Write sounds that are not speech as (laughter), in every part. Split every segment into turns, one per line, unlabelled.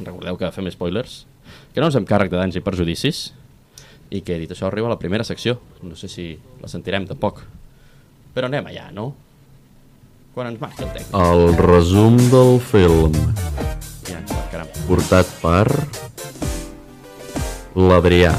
recordeu que fem spoilers, que no ens fem càrrec de danys i perjudicis, i que dit això arriba a la primera secció. No sé si la sentirem tampoc. Però anem allà, no? Quan ens marxa el tècnic.
El resum del film,
Ja, caram.
portat per... L'Adrià.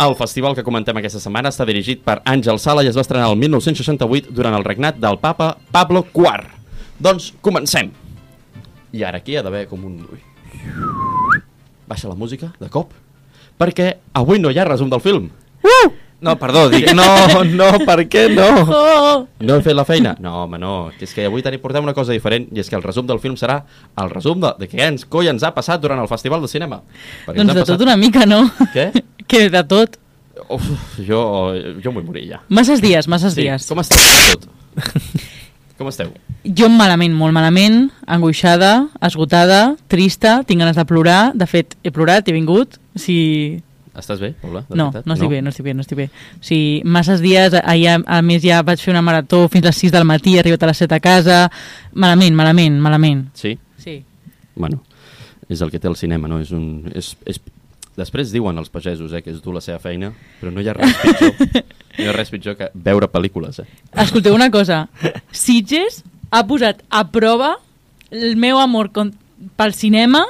El festival que comentem aquesta setmana està dirigit per Àngel Sala i es va estrenar el 1968 durant el regnat del papa Pablo IV. Doncs comencem. I ara aquí hi ha d'haver com un... Ui. Baixa la música, de cop, perquè avui no hi ha resum del film.
Uh!
No, perdó, dic...
No, no, per què no?
Oh,
No he fet la feina? No, home, no. És que avui tenim, portem una cosa diferent i és que el resum del film serà el resum de, de què ens coi ens ha passat durant el Festival de Cinema. Perquè ens
doncs
ha
de
passat-
tot una mica, no?
Què?
(laughs) Que de tot.
Uf, jo, jo em vull morir ja.
Masses dies, masses
Sí,
dies.
com esteu? Com
(laughs)
tot? Com esteu?
Jo malament, molt malament, angoixada, esgotada, trista, tinc ganes de plorar. De fet, he plorat, he vingut. Si...
Estàs bé, Paula? De
No,
veritat?
no estic bé, no estic bé, no estic bé. O sigui, masses dies, ahir a, a més ja vaig fer una marató fins a les 6 del matí, he arribat a les 7 a casa. Malament, malament, malament.
Sí?
Sí.
Bueno, és el que té el cinema, no? És un... És, és... Després diuen els pagesos eh, que és dur la seva feina, però no hi ha res
(laughs)
pitjor, no hi ha res pitjor que veure pel·lícules. Eh?
Escolteu una cosa. Sitges ha posat a prova el meu amor con... pel cinema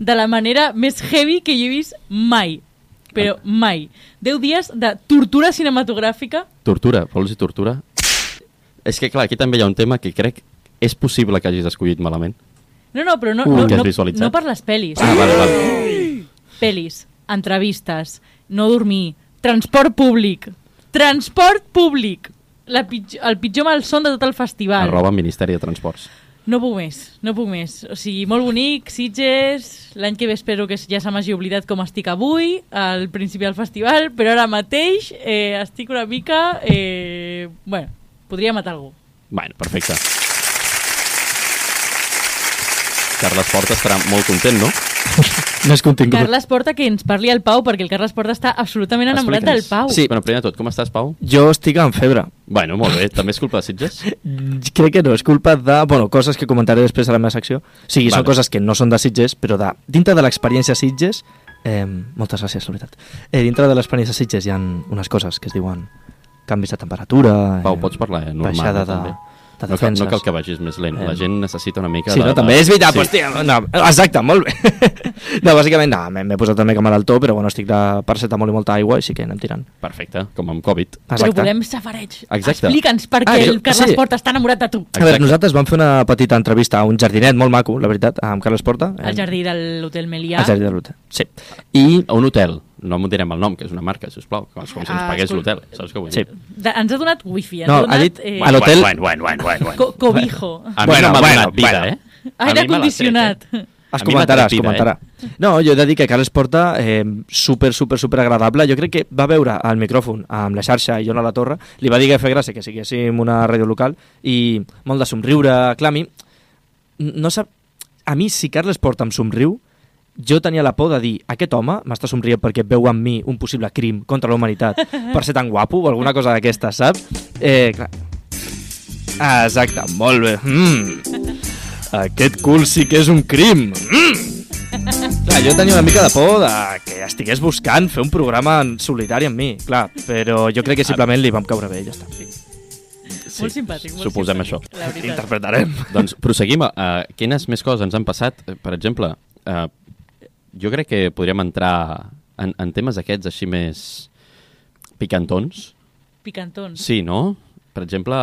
de la manera més heavy que jo he vist mai. Però mai. Deu dies de tortura cinematogràfica.
Tortura, vols dir tortura? És que clar, aquí també hi ha un tema que crec és possible que hagis escollit malament.
No, no, però no,
Uh,
no,
que has
no,
visualitzat.
no per les pel·lis.
Ah, vale, vale.
Pel·lis, entrevistes, no dormir, transport públic. Transport públic! La pitjor, el pitjor malson de tot el festival.
Arroba Ministeri de Transports.
No puc més, no puc més. O sigui, molt bonic, Sitges, l'any que ve espero que ja se m'hagi oblidat com estic avui, al principi del festival, però ara mateix eh, estic una mica... Eh, bueno, podria matar algú.
Bueno, perfecte. Carles Porta estarà molt content, no?
Més contingut.
Carles Porta, que ens parli al Pau, perquè el Carles Porta està absolutament enamorat del
Explica'ns.
Pau.
Sí, bueno, primer de tot, com estàs, Pau?
Jo estic amb febre.
Bueno, molt bé, també és culpa de Sitges?
Crec que no, és culpa de... Bueno, coses que comentaré després a la meva secció. O sigui, vale.
Vale.
són coses que no són de Sitges, però de, dintre de l'experiència Sitges... Eh, moltes gràcies, la veritat. Eh, dintre de l'experiència Sitges hi ha unes coses que es diuen canvis de temperatura...
Pau,
eh,
pots parlar, eh? Normal,
baixada de,
també.
de
No cal,
defenses.
no cal que vagis més lent, la
Eh.
gent necessita una mica
Sí,
de...
no, també és veritat, sí. hòstia, no, exacte, molt bé. (laughs) no, bàsicament, no, m'he m'he posat també que malaltó, però bueno, estic de paracetamol i molta aigua, així que anem tirant.
Perfecte, com amb Covid.
Però
Exacte.
volem safareig.
Exacte.
Explica'ns per
Ah,
què
jo-
el Carles
sí.
Porta està enamorat de tu.
A veure, nosaltres vam fer una petita entrevista a un jardinet molt maco, la veritat, amb Carles Porta.
Al jardí de l'Hotel Melià.
Al jardí de l'hotel, sí.
I a un hotel, no em direm el nom, que és una marca, sisplau, com si ens
Ah,
pagués
escolta.
l'hotel, saps què vull
Sí.
dir?
De, ens ha donat wifi, ens
No,
ha
ha
donat...
dit
eh,
a l'hotel...
Bueno, bueno, bueno, bueno, bueno.
co cobijo.
A mi
Bueno,
no m'ha
bueno,
donat vida,
bueno.
eh? A mi me l'ha
Aire
tret,
condicionat.
eh? A
Es
mi
comentarà, es
m'ha tret vida,
comentarà. No, jo he de dir que Carles Porta, eh, super, super, super agradable. Jo crec que va veure el micròfon amb la xarxa i jo a la torre, li va dir que fer gràcia que siguéssim una ràdio local i molt de somriure, clar, a mi, no sap... A mi, si Carles Porta em somriu, jo tenia la por de dir aquest home m'està somrient perquè veu en mi un possible crim contra
(laughs)
la humanitat per ser tan guapo o alguna cosa d'aquesta, saps? Eh, clar. Exacte, molt bé. Mm. Aquest cul sí que és un crim. Mm. Clar, jo tenia una mica de por de que estigués buscant fer un programa en solitari amb mi, clar, però jo crec que simplement li vam caure bé i ja està.
Sí,
Molt simpàtic. Molt
Suposem
simpàtic,
això.
La veritat.
Interpretarem.
Doncs proseguim. Uh, quines més coses ens han passat? Eh, Per exemple, uh, jo crec que podríem entrar en, en temes aquests així més picantons.
Picantons. (laughs)
Sí, no? Per exemple,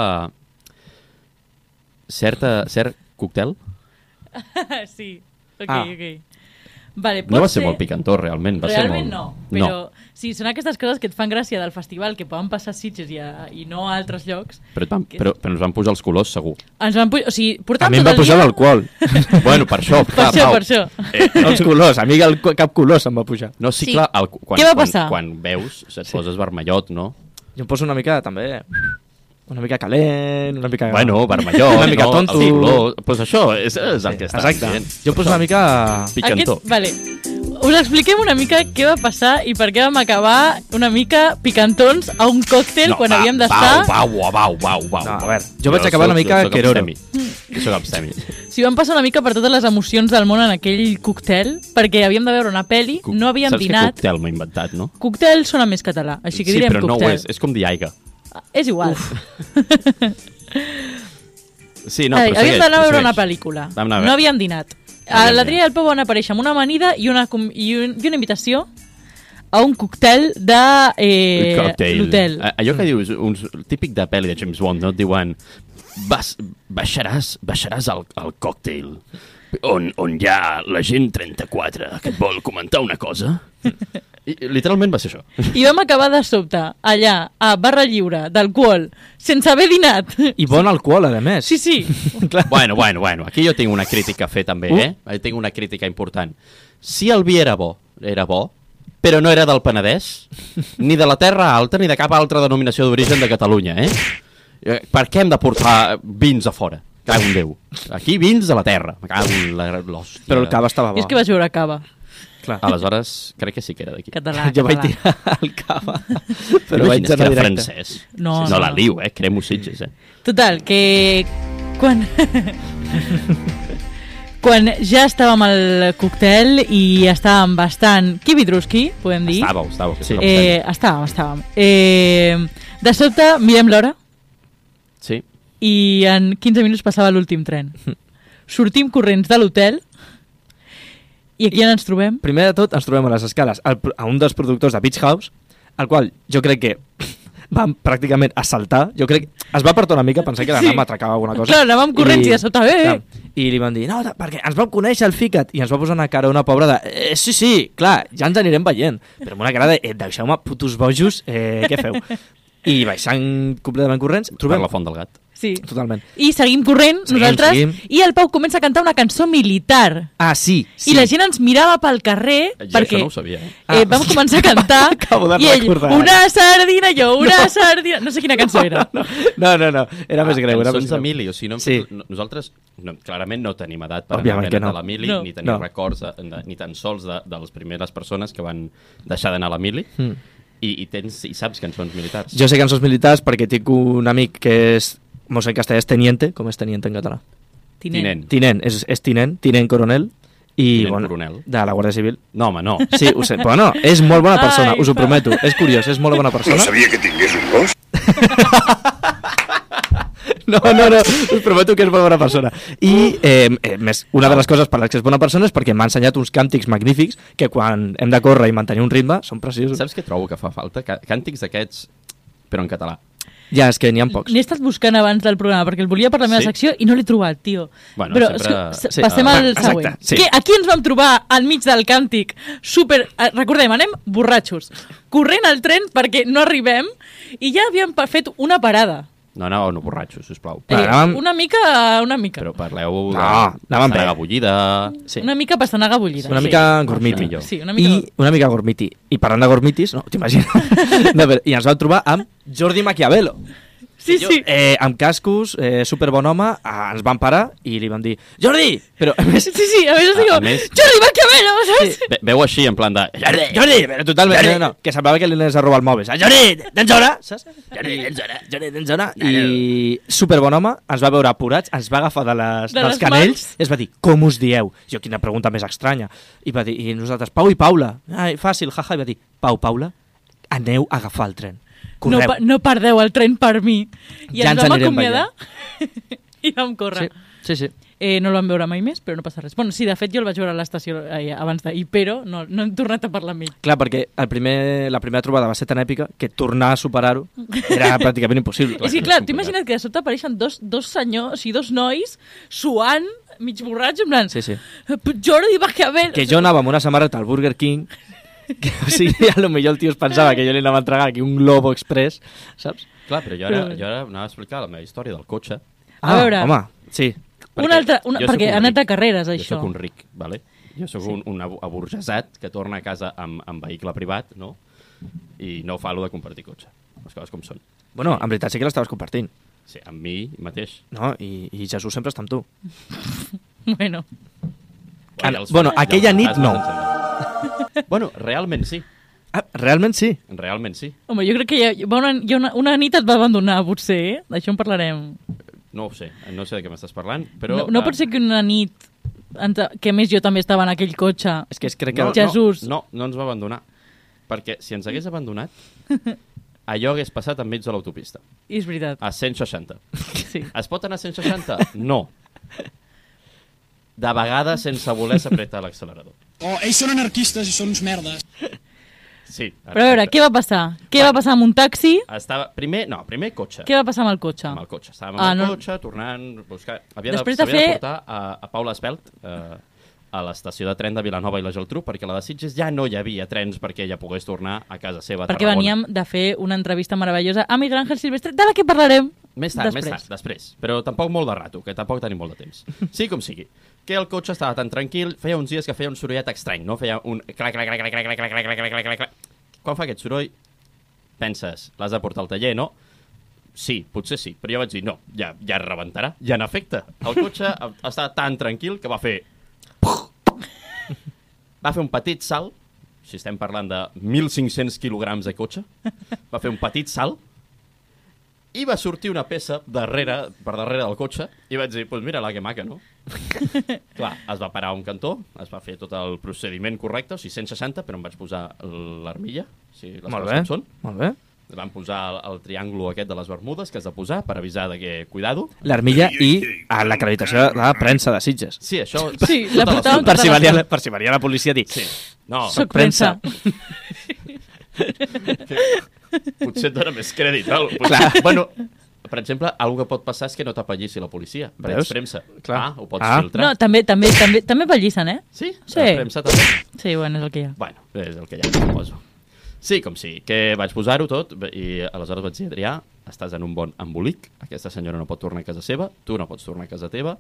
certa, cert còctel.
sí. Ok,
Ah.
ok. Vale, pot
No va ser molt picantó, realment. Va
Realment
ser
no,
molt...
però sí, són aquestes coses que et fan gràcia del festival, que poden passar a Sitges i, a, i no a altres llocs.
Però, et van, però, però ens van posar els colors, segur. (laughs)
Ens van pujar, o sigui,
A
portàvem
mi em va
tot el
pujar
dia...
l'alcohol.
bueno, per això,
Per
clar,
això,
Pau.
per això.
(laughs) Eh, no els colors, a mi el, co- cap color se'm va pujar.
No, sí,
Sí.
clar, el, quan,
Què va
quan,
passar?
quan veus, et poses vermellot, no?
Jo em poso una mica, també, una mica calent, Eh, una mica...
Bueno, vermellot,
Una mica
no?
tonto.
El color... Doncs pues això és, és el que està
Exacte.
dient.
Jo em poso una mica...
Picantó.
Aquest, vale. us expliquem una mica què va passar i per què vam acabar una mica picantons a un còctel no, quan
va,
havíem d'estar...
Pau, Pau, Pau, Pau, Pau.
No, a veure, jo vaig acabar una mica queroro.
Jo soc abstemi.
Si vam passar una mica per totes les emocions del món en aquell còctel, perquè havíem de veure una pe·li,
Cuc-
(laughs) no havíem
Saps
dinat...
Saps que còctel m'he inventat, no?
Còctel sona més català, així que
sí,
direm
però no
còctel.
ho és. És com dir aigua.
És igual. Eh,
Sí, no,
Ai,
però
havíem
segueix,
d'anar a veure
segueix.
una pel·lícula.
Vam anar a veure.
No havíem dinat.
Havíem
A L'Adrià i el Pau van aparèixer amb una amanida i una, com- i un, i una invitació a un còctel de eh,
Cocktail.
l'hotel. Mm.
A- Allò que dius, uns, típic de pel·li de James Bond, no? Et diuen, vas, baixaràs, baixaràs al, al còctel on, on hi ha la gent 34 que et vol comentar una
(laughs)
cosa. I, literalment va ser això.
I vam acabar de sobte, allà, a barra lliure, d'alcohol, sense haver dinat.
I bon alcohol, a més.
Sí, sí.
(laughs) Clar.
Bueno, bueno, bueno, aquí jo tinc una crítica a fer també,
Uh.
eh? Aquí Tinc una crítica important. Si el vi era bo, era bo, però no era del Penedès, ni de la Terra Alta, ni de cap altra denominació d'origen de Catalunya, eh? Eh, Per què hem de portar vins a fora? Cago en Déu. Aquí vins de la terra. Me cago en la- l'hòstia.
Però el cava
I
estava bo.
és que vaig veure cava.
Clar.
Ah, Aleshores, crec que sí que era d'aquí.
Català,
(laughs) jo vaig
català.
tirar el cava, però
Però
vaig
que
anar
era
directe.
francès.
No,
no,
no,
la
no.
liu, eh? Cremo Sitges, eh?
Total, que quan... quan ja estàvem al còctel i estàvem bastant kibidruski, podem dir.
Estàveu, estàveu. que és
Sí.
una
Eh,
muntanya.
estàvem, estàvem. Eh, de sobte mirem l'hora
Sí.
i en 15 minuts passava l'últim tren. Sortim corrents de l'hotel i aquí on ens trobem
Primer de tot ens trobem a les escales al, pro- a un dels productors de Beach House, el qual jo crec que (laughs) van pràcticament assaltar, jo crec es va apartar una mica pensant que la
Sí.
sí. atracava alguna cosa.
Clar, anàvem corrents i de sota, eh, eh.
Clar, I li van dir, no, ta- perquè ens vam conèixer el Ficat, i ens va posar una cara una pobra de, eh, sí, sí, clar, ja ens anirem veient, però amb una cara de, eh, deixeu-me putos bojos, eh, què feu? I baixant completament corrents,
Per
trobem...
la font del gat.
Sí.
Totalment.
I seguim corrent
Seguim,
nosaltres
seguim.
i el Pau comença a cantar una cançó militar.
Ah, sí, sí.
Sí. I la gent ens mirava pel carrer
Jo
perquè
això no ho sabia, eh?
eh,
Ah.
vam començar a cantar
(laughs) Acabo de
i ell,
recordar.
una sardina, jo, una no. sardina... No sé quina cançó
(laughs)
era.
No, no, no, no. era més greu. Era
Ah, cançons
més greu.
d'Emili, o sigui, no,
Sí.
sí. nosaltres no, clarament no tenim edat per Òbviament
Òbviament
anar
que no.
no. a l'Emili,
No.
no. ni tenir
No.
no. records, de, de, ni tan sols de, de les primeres persones que van deixar d'anar a l'Emili,
Mm.
i, i, tens, i saps cançons militars.
Jo sé cançons militars perquè tinc un amic que és, no sé en castellà, és teniente, com és teniente en català?
Tinent.
Tinent, és, és tinent, tinent coronel. I,
Tinent
bueno,
coronel.
De la Guàrdia Civil.
No, home, no.
Sí, ho sé. Bueno, és molt bona persona,
Ai,
us ho
Pau.
prometo. És curiós, és molt bona persona.
No sabia que tingués un gos.
(laughs) No, no, no, us prometo que és molt bona persona. I, eh, eh, més, una de les coses per les que és bona persona és perquè m'ha ensenyat uns càntics magnífics que quan hem de córrer i mantenir un ritme són preciosos.
Saps què trobo que fa falta? Ca- Càntics d'aquests, però en català.
Ja, és que n'hi ha pocs.
N'he estat buscant abans del programa perquè el volia per la meva
Sí?
secció i no l'he trobat, tio.
Bueno,
Però
sempre-
és que s-
sí,
passem
ah,
al
exacte,
següent.
sí.
Que aquí ens vam trobar al mig del càntic. Super, eh, recordem, anem borratxos, corrent al tren perquè no arribem i ja havíem pa- fet una parada.
No, no, no borratxo, sisplau.
Eh, anàvem-
una mica, una mica.
Però parleu de...
No, anàvem bé.
Saga bullida...
Sí.
Una mica pastanaga bullida.
Una
sí.
mica
Sí,
gormiti.
millor.
Sí, una mica
I una mica gormiti. I parlant de gormitis, no,
(laughs)
t'imagino. no, però, I ens vam trobar amb Jordi Maquiavelo.
Sí, sí.
Eh, amb cascos, eh, superbon home, eh, ens van parar i li van dir Jordi! Però, a més,
Sí, sí, a veces
A-
digo,
a més-
Jordi, va que velo, saps?
Ve, veu així, en plan de...
Jordi, Jordi, però totalment,
Jordi!
no, no, que semblava que li anés a robar el mòbil. saps? Jordi, tens hora? Saps?
Jordi, tens hora?
Jordi, tens hora? I superbon home, ens va veure apurats, ens va agafar de les,
De
dels
les
canells
mans.
i ens va dir, com us dieu? Jo, quina pregunta més estranya. I va dir, i nosaltres, Pau i Paula. Ai, fàcil, jaja. I va dir, Pau, Paula, aneu a agafar el tren.
No,
Correu.
pa- no perdeu el tren per mi. I
Ja
ens
ens
vam
anirem
acomiadar (laughs) i vam córrer.
sí, sí, sí.
Eh, no el vam veure mai més, però no passa res. Bueno, sí, de fet, jo el vaig veure a l'estació eh, abans d'ahir, però no, no hem tornat a parlar amb ell.
Clar, perquè el primer, la primera trobada va ser tan èpica que tornar a superar-ho era pràcticament impossible.
és que, clar,
és complicat.
tu imagina't que de sobte apareixen dos, dos senyors, o sigui, dos nois, suant, mig borratxos, en plan,
Sí, sí.
Jordi, va que velo.
Que jo anava amb una samarreta al Burger King que, o sigui, a lo millor el tio es pensava que jo li anava a entregar aquí un Globo Express, saps?
Clar, però jo ara,
Eh.
Però-
jo ara anava a explicar la meva història del cotxe.
A veure.
Ah, home, sí.
Un
Perquè
altre, una,
jo
perquè
sóc
ha
un ric.
anat a carreres,
Jo
això.
sóc un ric, vale? Jo sóc sí. un, un abu- aburgesat que torna a casa amb, amb vehicle privat, no? I no fa lo de compartir cotxe. Les coses com són.
Bueno, en veritat sí que l'estaves compartint,
Sí, amb mi mateix.
no? I, I Jesús sempre està amb tu.
Bueno,
Ara,
els
bueno,
fantasmes-
aquella
els
nit
fantasmes
no.
ens enganyen.
(laughs)
Bueno, realment sí.
Ah, realment sí.
Realment sí.
Home, jo crec que hi ha, hi va una, hi ha una, una nit et va abandonar, potser, eh? D'això en parlarem.
No ho sé, no sé de què m'estàs parlant, però...
Però,
eh,
no, no pot ser que una nit, ens- que a més jo també estava en aquell cotxe,
És que es crec que...
No. Jesús.
No, no, no ens va abandonar. Perquè si ens hagués
(laughs)
abandonat, allò hagués passat enmig de l'autopista,
i és veritat.
a 160.
Sí.
Es pot anar a 160? No. De vegades, sense voler, s'apreta l'accelerador.
Oh, ells són anarquistes i són uns merdes.
Sí.
Però a veure, què va passar? Què va passar amb un taxi?
Estava... Primer, no, primer cotxe.
Què va passar amb el cotxe?
Amb el cotxe. Estàvem amb
Ah,
el
no.
cotxe, tornant, buscar... Havia Després
Després de
de, fer...
fer-
de portar a, a Paula Espelt eh, a l'estació de tren de Vilanova i la Geltrú, perquè a la de Sitges ja no hi havia trens perquè ella pogués tornar a casa seva a
Perquè
Tarragona.
veníem de fer una entrevista meravellosa amb Miguel Ángel Silvestre, de la que parlarem
Més tard,
després.
més tard, després. Però tampoc molt de rato, que tampoc tenim molt de temps. Sí com sigui, que el cotxe estava tan tranquil, feia uns dies que feia un sorollet estrany, no? Feia un clac, clac, clac, clac, clac, clac, clac, clac, clac, clac, clac, clac. Quan fa aquest soroll, penses, l'has de portar al taller, no? Sí, potser sí, però jo vaig dir, no, ja, ja es rebentarà. I en efecte, el cotxe (laughs) estava tan tranquil que va fer... (laughs) Va fer un petit salt, si estem parlant de 1.500 quilograms de cotxe, va fer un petit salt, i va sortir una peça darrere, per darrere del cotxe i vaig dir, doncs pues mira la que maca, no? Clar, es va parar a un cantó, es va fer tot el procediment correcte, o sigui, 160, però em vaig posar l'armilla, o sigui, les
Molt
coses
bé.
com són.
Molt bé.
Van posar el, el triangle aquest de les Bermudes que has de posar per avisar de que, cuidado.
L'armilla i a l'acreditació de la premsa de Sitges.
Sí, això...
Sí,
tota
la portava
l'estona.
Per si venia, la- per si venia la policia a dir...
Sí. No,
Soc
premsa.
premsa.
potser et dona més crèdit. Val? Potser...
Clar.
Bueno, per exemple, algo que pot passar és que no t'apallissi la policia, perquè
Veus?
ets premsa.
Clar.
Ah, ho pots
Ah.
filtrar.
No, també, també, també, també pallissen, eh?
Sí?
Sí.
La premsa també.
Sí, bueno, és el que hi ha.
Bueno, és el que ja suposo. Sí, com sí, que vaig posar-ho tot i aleshores vaig dir, Adrià, estàs en un bon embolic, aquesta senyora no pot tornar a casa seva, tu no pots tornar a casa teva,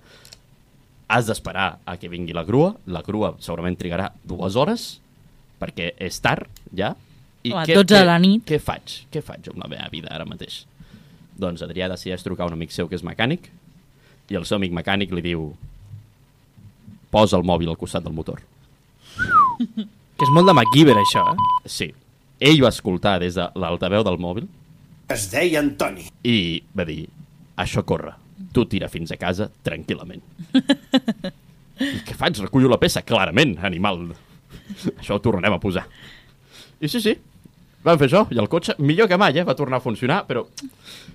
has d'esperar a que vingui la grua, la grua segurament trigarà dues hores, perquè és tard, ja,
Home, 12 de la nit.
Què faig? Què faig amb la meva vida ara mateix? Doncs Adrià decideix trucar a un amic seu que és mecànic, i el seu amic mecànic li diu posa el mòbil al costat del motor.
Que és molt de MacGyver, això, eh?
Sí. Ell va escoltar des de l'altaveu del mòbil
Es deia Antoni.
i va dir, això corre, tu tira fins a casa
(laughs)
tranquil·lament. I què faig? Recullo la peça? Clarament, animal. Això ho tornarem a posar. I sí, sí, van fer això, i el cotxe, millor que mai, eh, va tornar a funcionar, però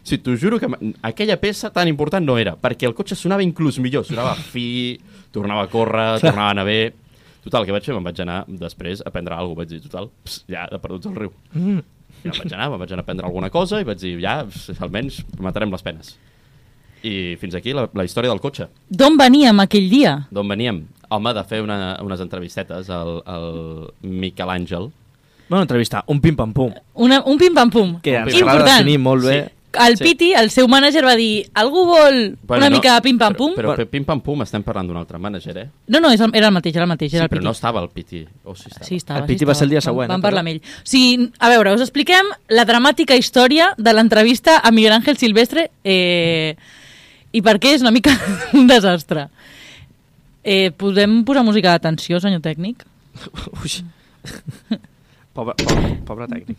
si t'ho juro que m- aquella peça tan important no era, perquè el cotxe sonava inclús millor, sonava fi, tornava a córrer, tornava a anar bé... Total, què vaig fer? Me'n vaig anar després a prendre alguna cosa, vaig dir, total, ps, ja, de perduts al riu. Ja me'n vaig anar, me'n vaig anar a prendre alguna cosa i vaig dir, ja, pss, almenys matarem les penes. I fins aquí la, la història del cotxe.
D'on veníem aquell dia?
D'on veníem? Home, de fer una, unes entrevistetes al, al Miquel Àngel.
Bueno, entrevista, un pim-pam-pum.
Una, un pim-pam-pum.
Que ens agrada
Important.
definir molt bé.
Sí.
El
Sí.
Piti, el seu mànager, va dir algú vol bueno, una no, mica de pim-pam-pum?
Però, però pim-pam-pum estem parlant d'un altre mànager, eh?
No, no, és el, era el mateix, era el mateix.
Sí,
Era el
però
Piti.
no estava el Piti. Oh, sí, estava.
Sí, estava,
El
sí,
Piti va
estava.
ser el dia
Vam-
següent, eh,
Vam
però-
parlar amb ell. O sigui, a veure, us expliquem la dramàtica història de l'entrevista a Miguel Ángel Silvestre eh, i per què és una mica (laughs) un desastre. Eh, podem posar música d'atenció, senyor tècnic?
Ui. Pobre, pobre, pobre tècnic.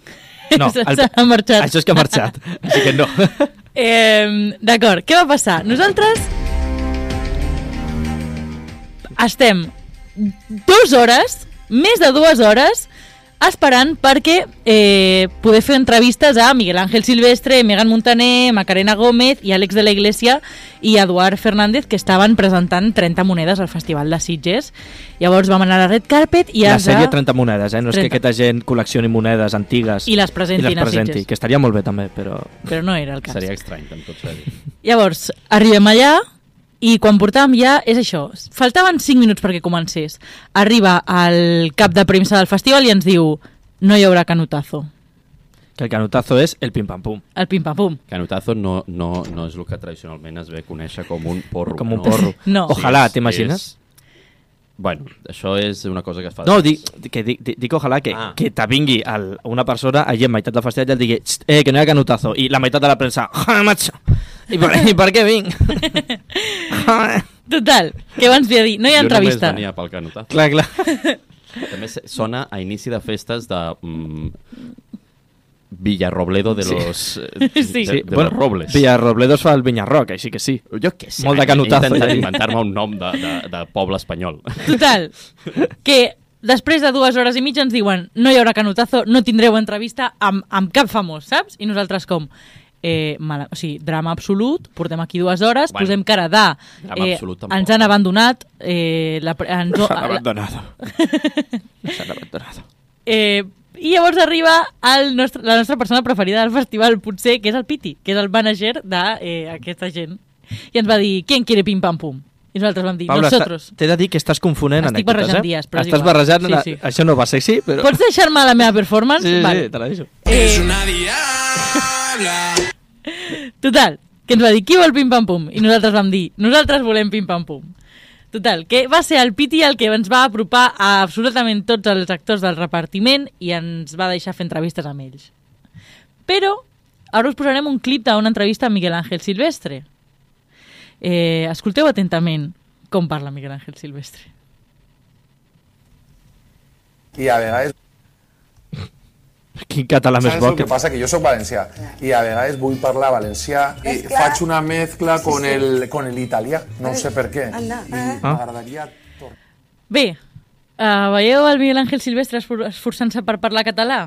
No,
(laughs) Se-
el,
se n'ha marxat.
això és que ha marxat.
(laughs)
Així que no.
Eh, D'acord, què va passar? Nosaltres estem dues hores, més de dues hores, esperant perquè eh, poder fer entrevistes a Miguel Ángel Silvestre, Megan Montaner, Macarena Gómez i Àlex de la Iglesia i Eduard Fernández, que estaven presentant 30 monedes al Festival de Sitges. Llavors vam anar a la Red Carpet i
I la
ens
sèrie
a-
30 monedes, eh? No és
30.
que aquesta gent col·leccioni monedes antigues
I les presenti
i les
a
presenti
Sitges.
que estaria molt bé també, però...
Però no era el cas.
Seria estrany, amb tot sèrio.
Llavors, arribem allà i quan portàvem ja, és això, faltaven 5 minuts perquè comencés. Arriba el cap de premsa del festival i ens diu no hi haurà canutazo.
Que el canotazo és el pim-pam-pum.
El pim-pam-pum. (laughs)
Canutazo no, no, no és el que tradicionalment es ve conèixer com un porro.
Com un
no?
porro.
(laughs) No.
Ojalà,
és-
t'imagines?
És... Bueno, això és una cosa que es fa...
No,
després.
dic, que dic, dic, dic ojalà que,
Ah.
que t'avingui el- una persona allí en meitat del festival i et digui "Xt, eh, que no hi ha canotazo i la meitat de la premsa ja, macho, i per, (laughs) i per què vinc?
(laughs)
Ja.
Total, que abans havia dit, no hi ha
Jo només
entrevista.
venia pel Canutazo.
clar, clar.
També se- sona a inici de festes de... Mm, Villarrobledo de los...
(laughs)
Sí,
Sí.
De, de los Robles.
Villarrobledo es fa el Vinyarroc, així que sí.
Jo què sé.
Molt de eh?
he-
canotazo,
He intentat
ja.
inventar-me un nom de, de, de poble espanyol.
Total, que després de dues hores i mitja ens diuen no hi haurà canotazo, no tindreu entrevista amb, amb cap famós, saps? I nosaltres com? Eh, mala, o sigui, drama absolut, portem aquí dues hores,
Bueno,
bueno, posem cara de... eh,
drama absolut tampoc.
ens han abandonat, eh, la, pre- ens,
(laughs)
ho- la,
abandonado. S'han abandonado.
(laughs) eh, i llavors arriba el nostre, la nostra persona preferida del festival, potser, que és el Piti, que és el manager d'aquesta eh, gent. I ens va dir, ¿quién quiere pim pam pum? I nosaltres vam dir,
Paula,
nosotros.
està- t'he de dir que estàs confonent
Estic
anècdotes,
barrejant
eh?
dies, però és
Estàs
igual.
barrejant...
Sí,
una-
sí.
Això no va sexy, però...
Pots deixar-me la meva performance?
Sí, sí,
Vale.
te la deixo.
Es
Eh,
una diabla.
Total, que ens va dir, qui vol pim-pam-pum? I nosaltres vam dir, nosaltres volem pim-pam-pum. Total, que va ser el Piti el que ens va apropar a absolutament tots els actors del repartiment i ens va deixar fer entrevistes amb ells. Però ara us posarem un clip d'una entrevista a Miguel Ángel Silvestre. Eh, escolteu atentament com parla Miguel Ángel Silvestre.
Y a vegades,
Quin català més
¿sabes
bo
lo
que...
que pasa? Que yo soy valencià y a vegades vull parlar valencià i
Mezcla.
faig una mezcla con, el, con el italià, no sé per què.
Anda,
I
eh.
m'agradaria... tornar-
Bé, uh, veieu el Miguel Ángel Silvestre esfor- esforçant-se per parlar català?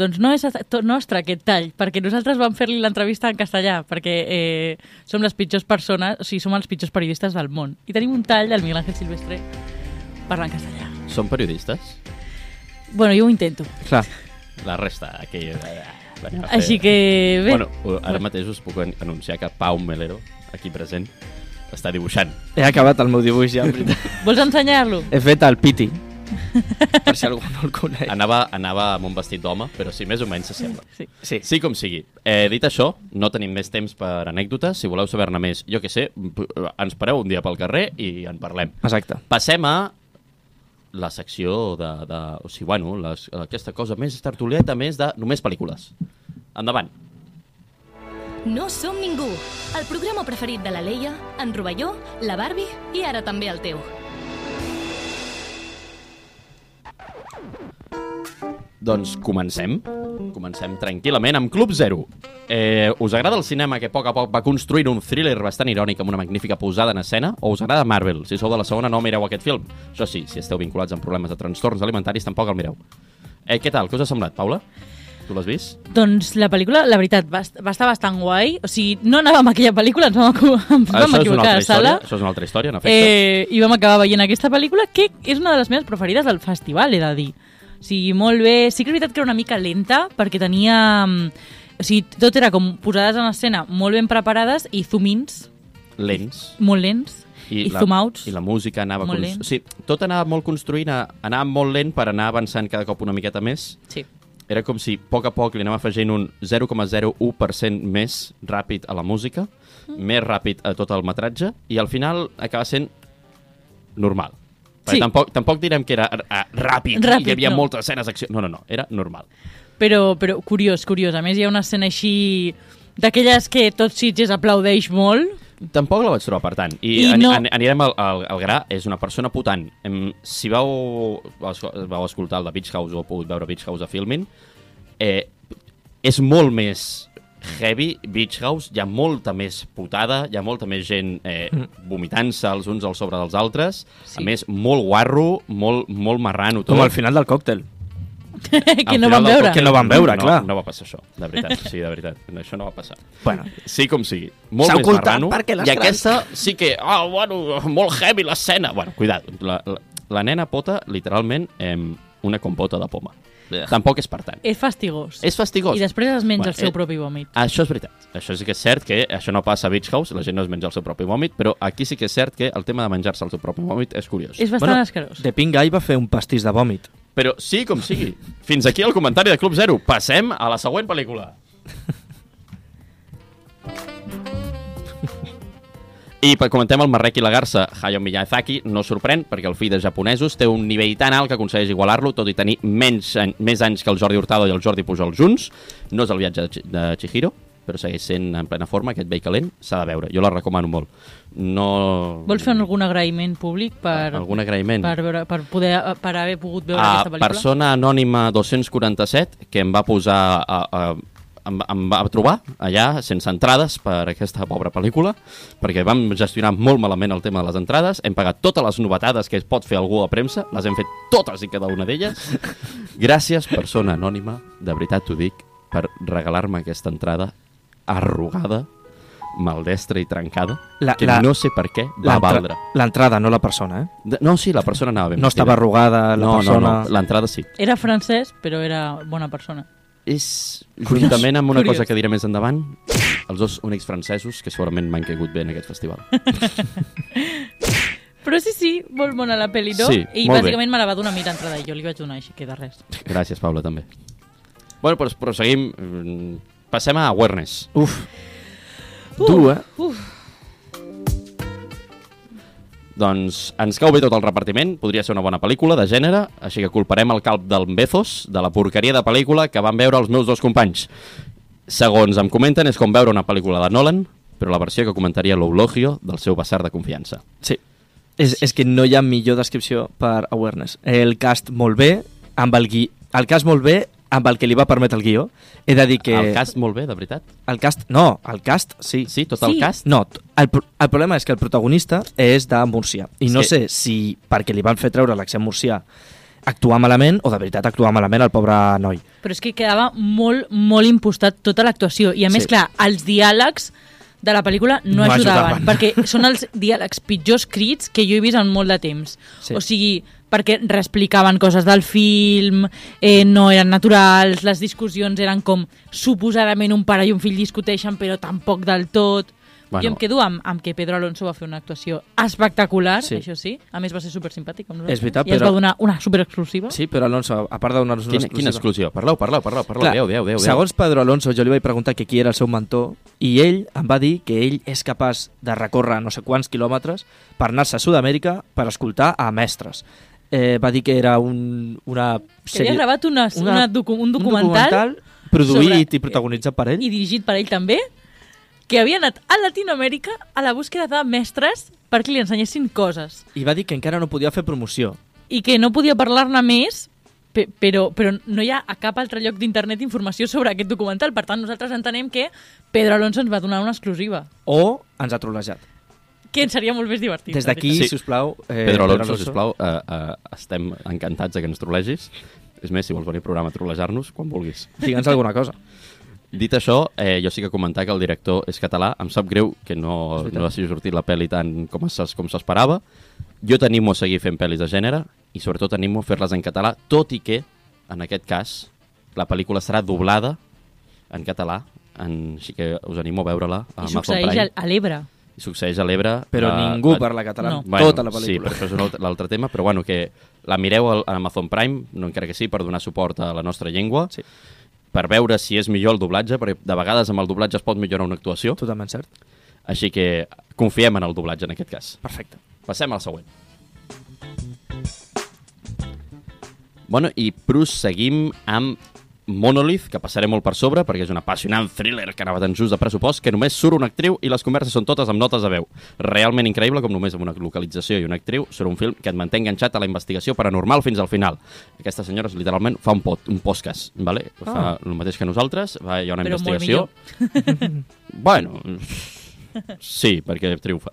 Doncs no és a- to- nostre aquest tall, perquè nosaltres vam fer-li l'entrevista en castellà, perquè eh, som les pitjors persones, o sigui, som els pitjors periodistes del món. I tenim un tall del Miguel Ángel Silvestre parlant castellà.
Són periodistes?
Bueno, jo ho intento.
Clar,
La resta, eh, aquella... Bueno,
Així que, bé,
Bueno, ara mateix us puc an- anunciar que Pau Melero, aquí present, està dibuixant.
he acabat el meu dibuix
(laughs)
ja, en veritat.
vols ensenyar-lo?
He fet el piti. per si algú no el coneix.
Anava, anava amb un vestit d'home, però sí, més o menys s'assembla.
Sí.
Sí.
Sí, com sigui. Eh, dit això, no tenim més temps per anècdotes. Si voleu saber-ne més, jo que sé, p- ens pareu un dia pel carrer i en parlem.
Exacte.
Passem a la secció de... de o sigui, bueno, les, aquesta cosa més tertulieta, més de només pel·lícules. Endavant.
No som ningú. El programa preferit de la Leia, en Rovelló, la Barbie i ara també el teu.
Doncs comencem. Comencem tranquil·lament amb Club Zero. Eh, us agrada el cinema que a poc a poc va construint un thriller bastant irònic amb una magnífica posada en escena? O us agrada Marvel? Si sou de la segona, no mireu aquest film. Això sí, si esteu vinculats amb problemes de trastorns alimentaris, tampoc el mireu. Eh, què tal? Què us ha semblat, Paula? Tu l'has vist?
Doncs la pel·lícula, la veritat, va, est- va estar bastant guai. O sigui, no anàvem a aquella pel·lícula, ens vam, equi- (laughs) ens vam
és una
equivocar
altra
a la sala.
història, això és una altra història, en efecte.
Eh, I vam acabar veient aquesta pel·lícula, que és una de les meves preferides del festival, he de dir. O sigui, molt bé. Sí que és veritat que era una mica lenta, perquè tenia... mm, O sigui, tot era com posades en escena molt ben preparades i zoom-ins
Lents.
molt lents i, i
la,
zoom-outs.
I la música anava...
Molt
cons-
lent.
Sí, tot anava molt construint, a- anava molt lent per anar avançant cada cop una miqueta més.
Sí.
era com si a poc a poc li anava afegint un 0,01% més ràpid a la música, mm. més ràpid a tot el metratge, i al final acaba sent normal.
Sí.
Sí. Tampoc, tampoc direm que era ah, ràpid,
Ràpid,
ràpid, hi havia
no.
no. moltes escenes d'acció. No, no, no, era normal.
Però, però curiós, curiós. A més, hi ha una escena així d'aquelles que tot Sitges aplaudeix molt. (laughs)
Tampoc la vaig trobar, per tant. I,
I
I no...
no-
anirem al, al, al gra, és una persona putant. Em, si vau, vau escoltar el de Beach House o heu pogut veure Beach House a Filmin, eh, és molt més heavy, Beach House, hi ha molta més putada, hi ha molta més gent eh,
Mm.
vomitant-se els uns als sobre dels altres, sí.
Sí.
a més, molt guarro, molt, molt marrano tot.
Com al final del còctel.
que
Al
no
final
van
del
veure.
còctel
Que no van veure,
no,
clar.
No va passar això, de veritat, sí, de veritat, això no va passar.
Bueno,
Sí, com sigui. Molt
S'ha
més
ocultat
marrano.
perquè les
I aquesta sí que... Ah, oh, bueno, molt heavy l'escena. Bueno, cuidat. La, la, la nena pota, literalment, eh, una compota de poma.
Eh.
Tampoc és per tant.
És fastigós.
És fastigós.
I després es
Bueno,
menja bueno, el seu
eh,
propi vòmit.
Això és veritat. Això sí que és cert que això no passa a Beach House, la gent no es menja el seu propi vòmit, però aquí sí que és cert que el tema de menjar-se el seu propi vòmit és curiós.
És bastant
bueno
bueno, escarós.
The Pink Guy va fer un pastís de vòmit.
Però sí, com sigui. Fins aquí el comentari de Club Zero. Passem a la següent pel·lícula. I per comentem el Marrec i la Garça. Hayao Miyazaki no sorprèn perquè el fill de japonesos té un nivell tan alt que aconsegueix igualar-lo, tot i tenir menys, an- més anys que el Jordi Hurtado i el Jordi Pujol junts. No és el viatge de, Chi- de Chihiro, però segueix sent en plena forma, aquest vell calent, s'ha de veure. Jo la recomano molt. No...
Vols fer algun agraïment públic per,
Algun agraïment?
per, veure, per, poder, eh, per haver pogut veure
a
aquesta pel·lícula?
Ah, persona anònima 247 que em va posar a, a, em, em va trobar allà sense entrades per aquesta pobra pel·lícula perquè vam gestionar molt malament el tema de les entrades, hem pagat totes les novetades que es pot fer algú a premsa, les hem fet totes i cada una
(laughs)
d'elles gràcies persona anònima, de veritat t'ho dic per regalar-me aquesta entrada arrugada maldestra i trencada,
La-
que
la-
no sé per què va
L'entra-
valdre.
L'entrada, no la persona, eh?
De- No, sí, la persona anava ben
No
vestida.
estava arrugada, la
no,
persona...
No, no, l'entrada sí.
Era francès, però era bona persona.
és, juntament amb una
Curiós.
cosa que diré més endavant, els dos únics francesos que segurament m'han caigut bé en aquest festival.
Però sí, sí, molt bona la pel·li, no?
Sí,
I
molt bé.
bàsicament me la va donar a mi d'entrada i jo li vaig donar així que de res.
Gràcies, Paula, també. Bueno, però, però seguim... Mm, Passem a Awareness.
Uf,
Uh!
dur, eh?
Uf,
Doncs ens cau bé tot el repartiment, podria ser una bona pel·lícula de gènere, així que culparem el calp del Bezos de la porqueria de pel·lícula que van veure els meus dos companys. Segons em comenten, és com veure una pel·lícula de Nolan, però la versió que comentaria l'Eulogio del seu vessar de confiança.
Sí. És, és que no hi ha millor descripció per Awareness. El cast molt bé, amb el gui... El cast molt bé, amb el que li va permetre el guió. He de dir que...
Que... El cast molt bé, de veritat.
El cast... No, el cast, sí.
Sí, tot el
Sí.
cast.
No, t- el, pro- el problema és que el protagonista és de Múrcia. I no
Sí.
sé si perquè li van fer treure l'accent murcià actuar malament o de veritat actuar malament el pobre noi.
però és que quedava molt, molt impostat tota l'actuació. I a més,
Sí.
sí. clar, els diàlegs de la pel·lícula no,
No
ajudaven,
ajudaven. (laughs)
perquè són els diàlegs pitjors crits que jo he vist en molt de temps.
Sí.
Sí. O sigui, perquè reexplicaven coses del film, eh, no eren naturals, les discussions eren com suposadament un pare i un fill discuteixen, però tampoc del tot.
Bueno.
Bueno. Jo em quedo amb, amb que Pedro Alonso va fer una actuació espectacular,
Sí.
sí. això sí. A més, va ser supersimpàtic amb nosaltres.
És veritat,
I ens
però-
va donar una superexclusiva.
Sí, però Alonso, a part de donar-nos una
Quina, quina exclusió? Parleu, parleu, parleu, parleu. Clar,
Clar,
adeu, adeu, adeu.
Segons Pedro Alonso, jo li vaig preguntar que qui era el seu mentor i ell em va dir que ell és capaç de recórrer no sé quants quilòmetres per anar-se a Sud-amèrica per escoltar a mestres. Eh, va dir que era un, una
Que havia gravat una, una, una docu un documental,
un documental produït
sobre-
i protagonitzat per ell.
i dirigit per ell també, que havia anat a Latinoamèrica a la búsqueda de mestres perquè li ensenyessin coses
I va dir que encara no podia fer promoció.
i que no podia parlar-ne més pe- però, però no hi ha a cap altre lloc d'internet informació sobre aquest documental. Per tant, nosaltres entenem que Pedro Alonso ens va donar una exclusiva,
O ens ha trolejat.
que ens seria molt més divertit.
Des d'aquí,
Sí.
sí. si us plau... Eh,
Pedro Alonso, sisplau, eh, eh, estem encantats de que ens trolegis. És més, si vols venir al programa a trolejar-nos, quan vulguis.
Digue'ns alguna cosa.
Dit això, eh, jo sí que comentar que el director és català. Em sap greu que no, no hagi sortit la pel·li tant com s'es- com s'esperava. Jo t'animo a seguir fent pel·lis de gènere i sobretot animo a fer-les en català, tot i que, en aquest cas, la pel·lícula serà doblada en català, en, així que us animo a veure-la a
I
Amazon
succeeix
Prime.
a- a l'Ebre.
I succeeix a l'Ebre. eh,
Però
a-
ningú
a-
parla català.
No.
No. Tota la
Ah, Sí,
pel·lícula.
però això és un altre, l'altre tema, però bueno, que la mireu al- a Amazon Prime, no encara que sí, per donar suport a la nostra llengua,
Sí.
per veure si és millor el doblatge, perquè de vegades amb el doblatge es pot millorar una actuació,
Totalment cert.
així que confiem en el doblatge en aquest cas.
Perfecte.
Passem al següent. Bueno, i proseguim amb Monolith, que passaré molt per sobre, perquè és un apassionant thriller que anava tan just de pressupost, que només surt una actriu i les converses són totes amb notes de veu. Realment increïble com només amb una localització i una actriu surt un film que et manté enganxat a la investigació paranormal fins al final. Aquesta senyora és, literalment fa un, pot, un podcast, vale? fa el mateix que nosaltres, va, hi ha una
Ah. Però molt
investigació... bueno, sí, perquè triomfa.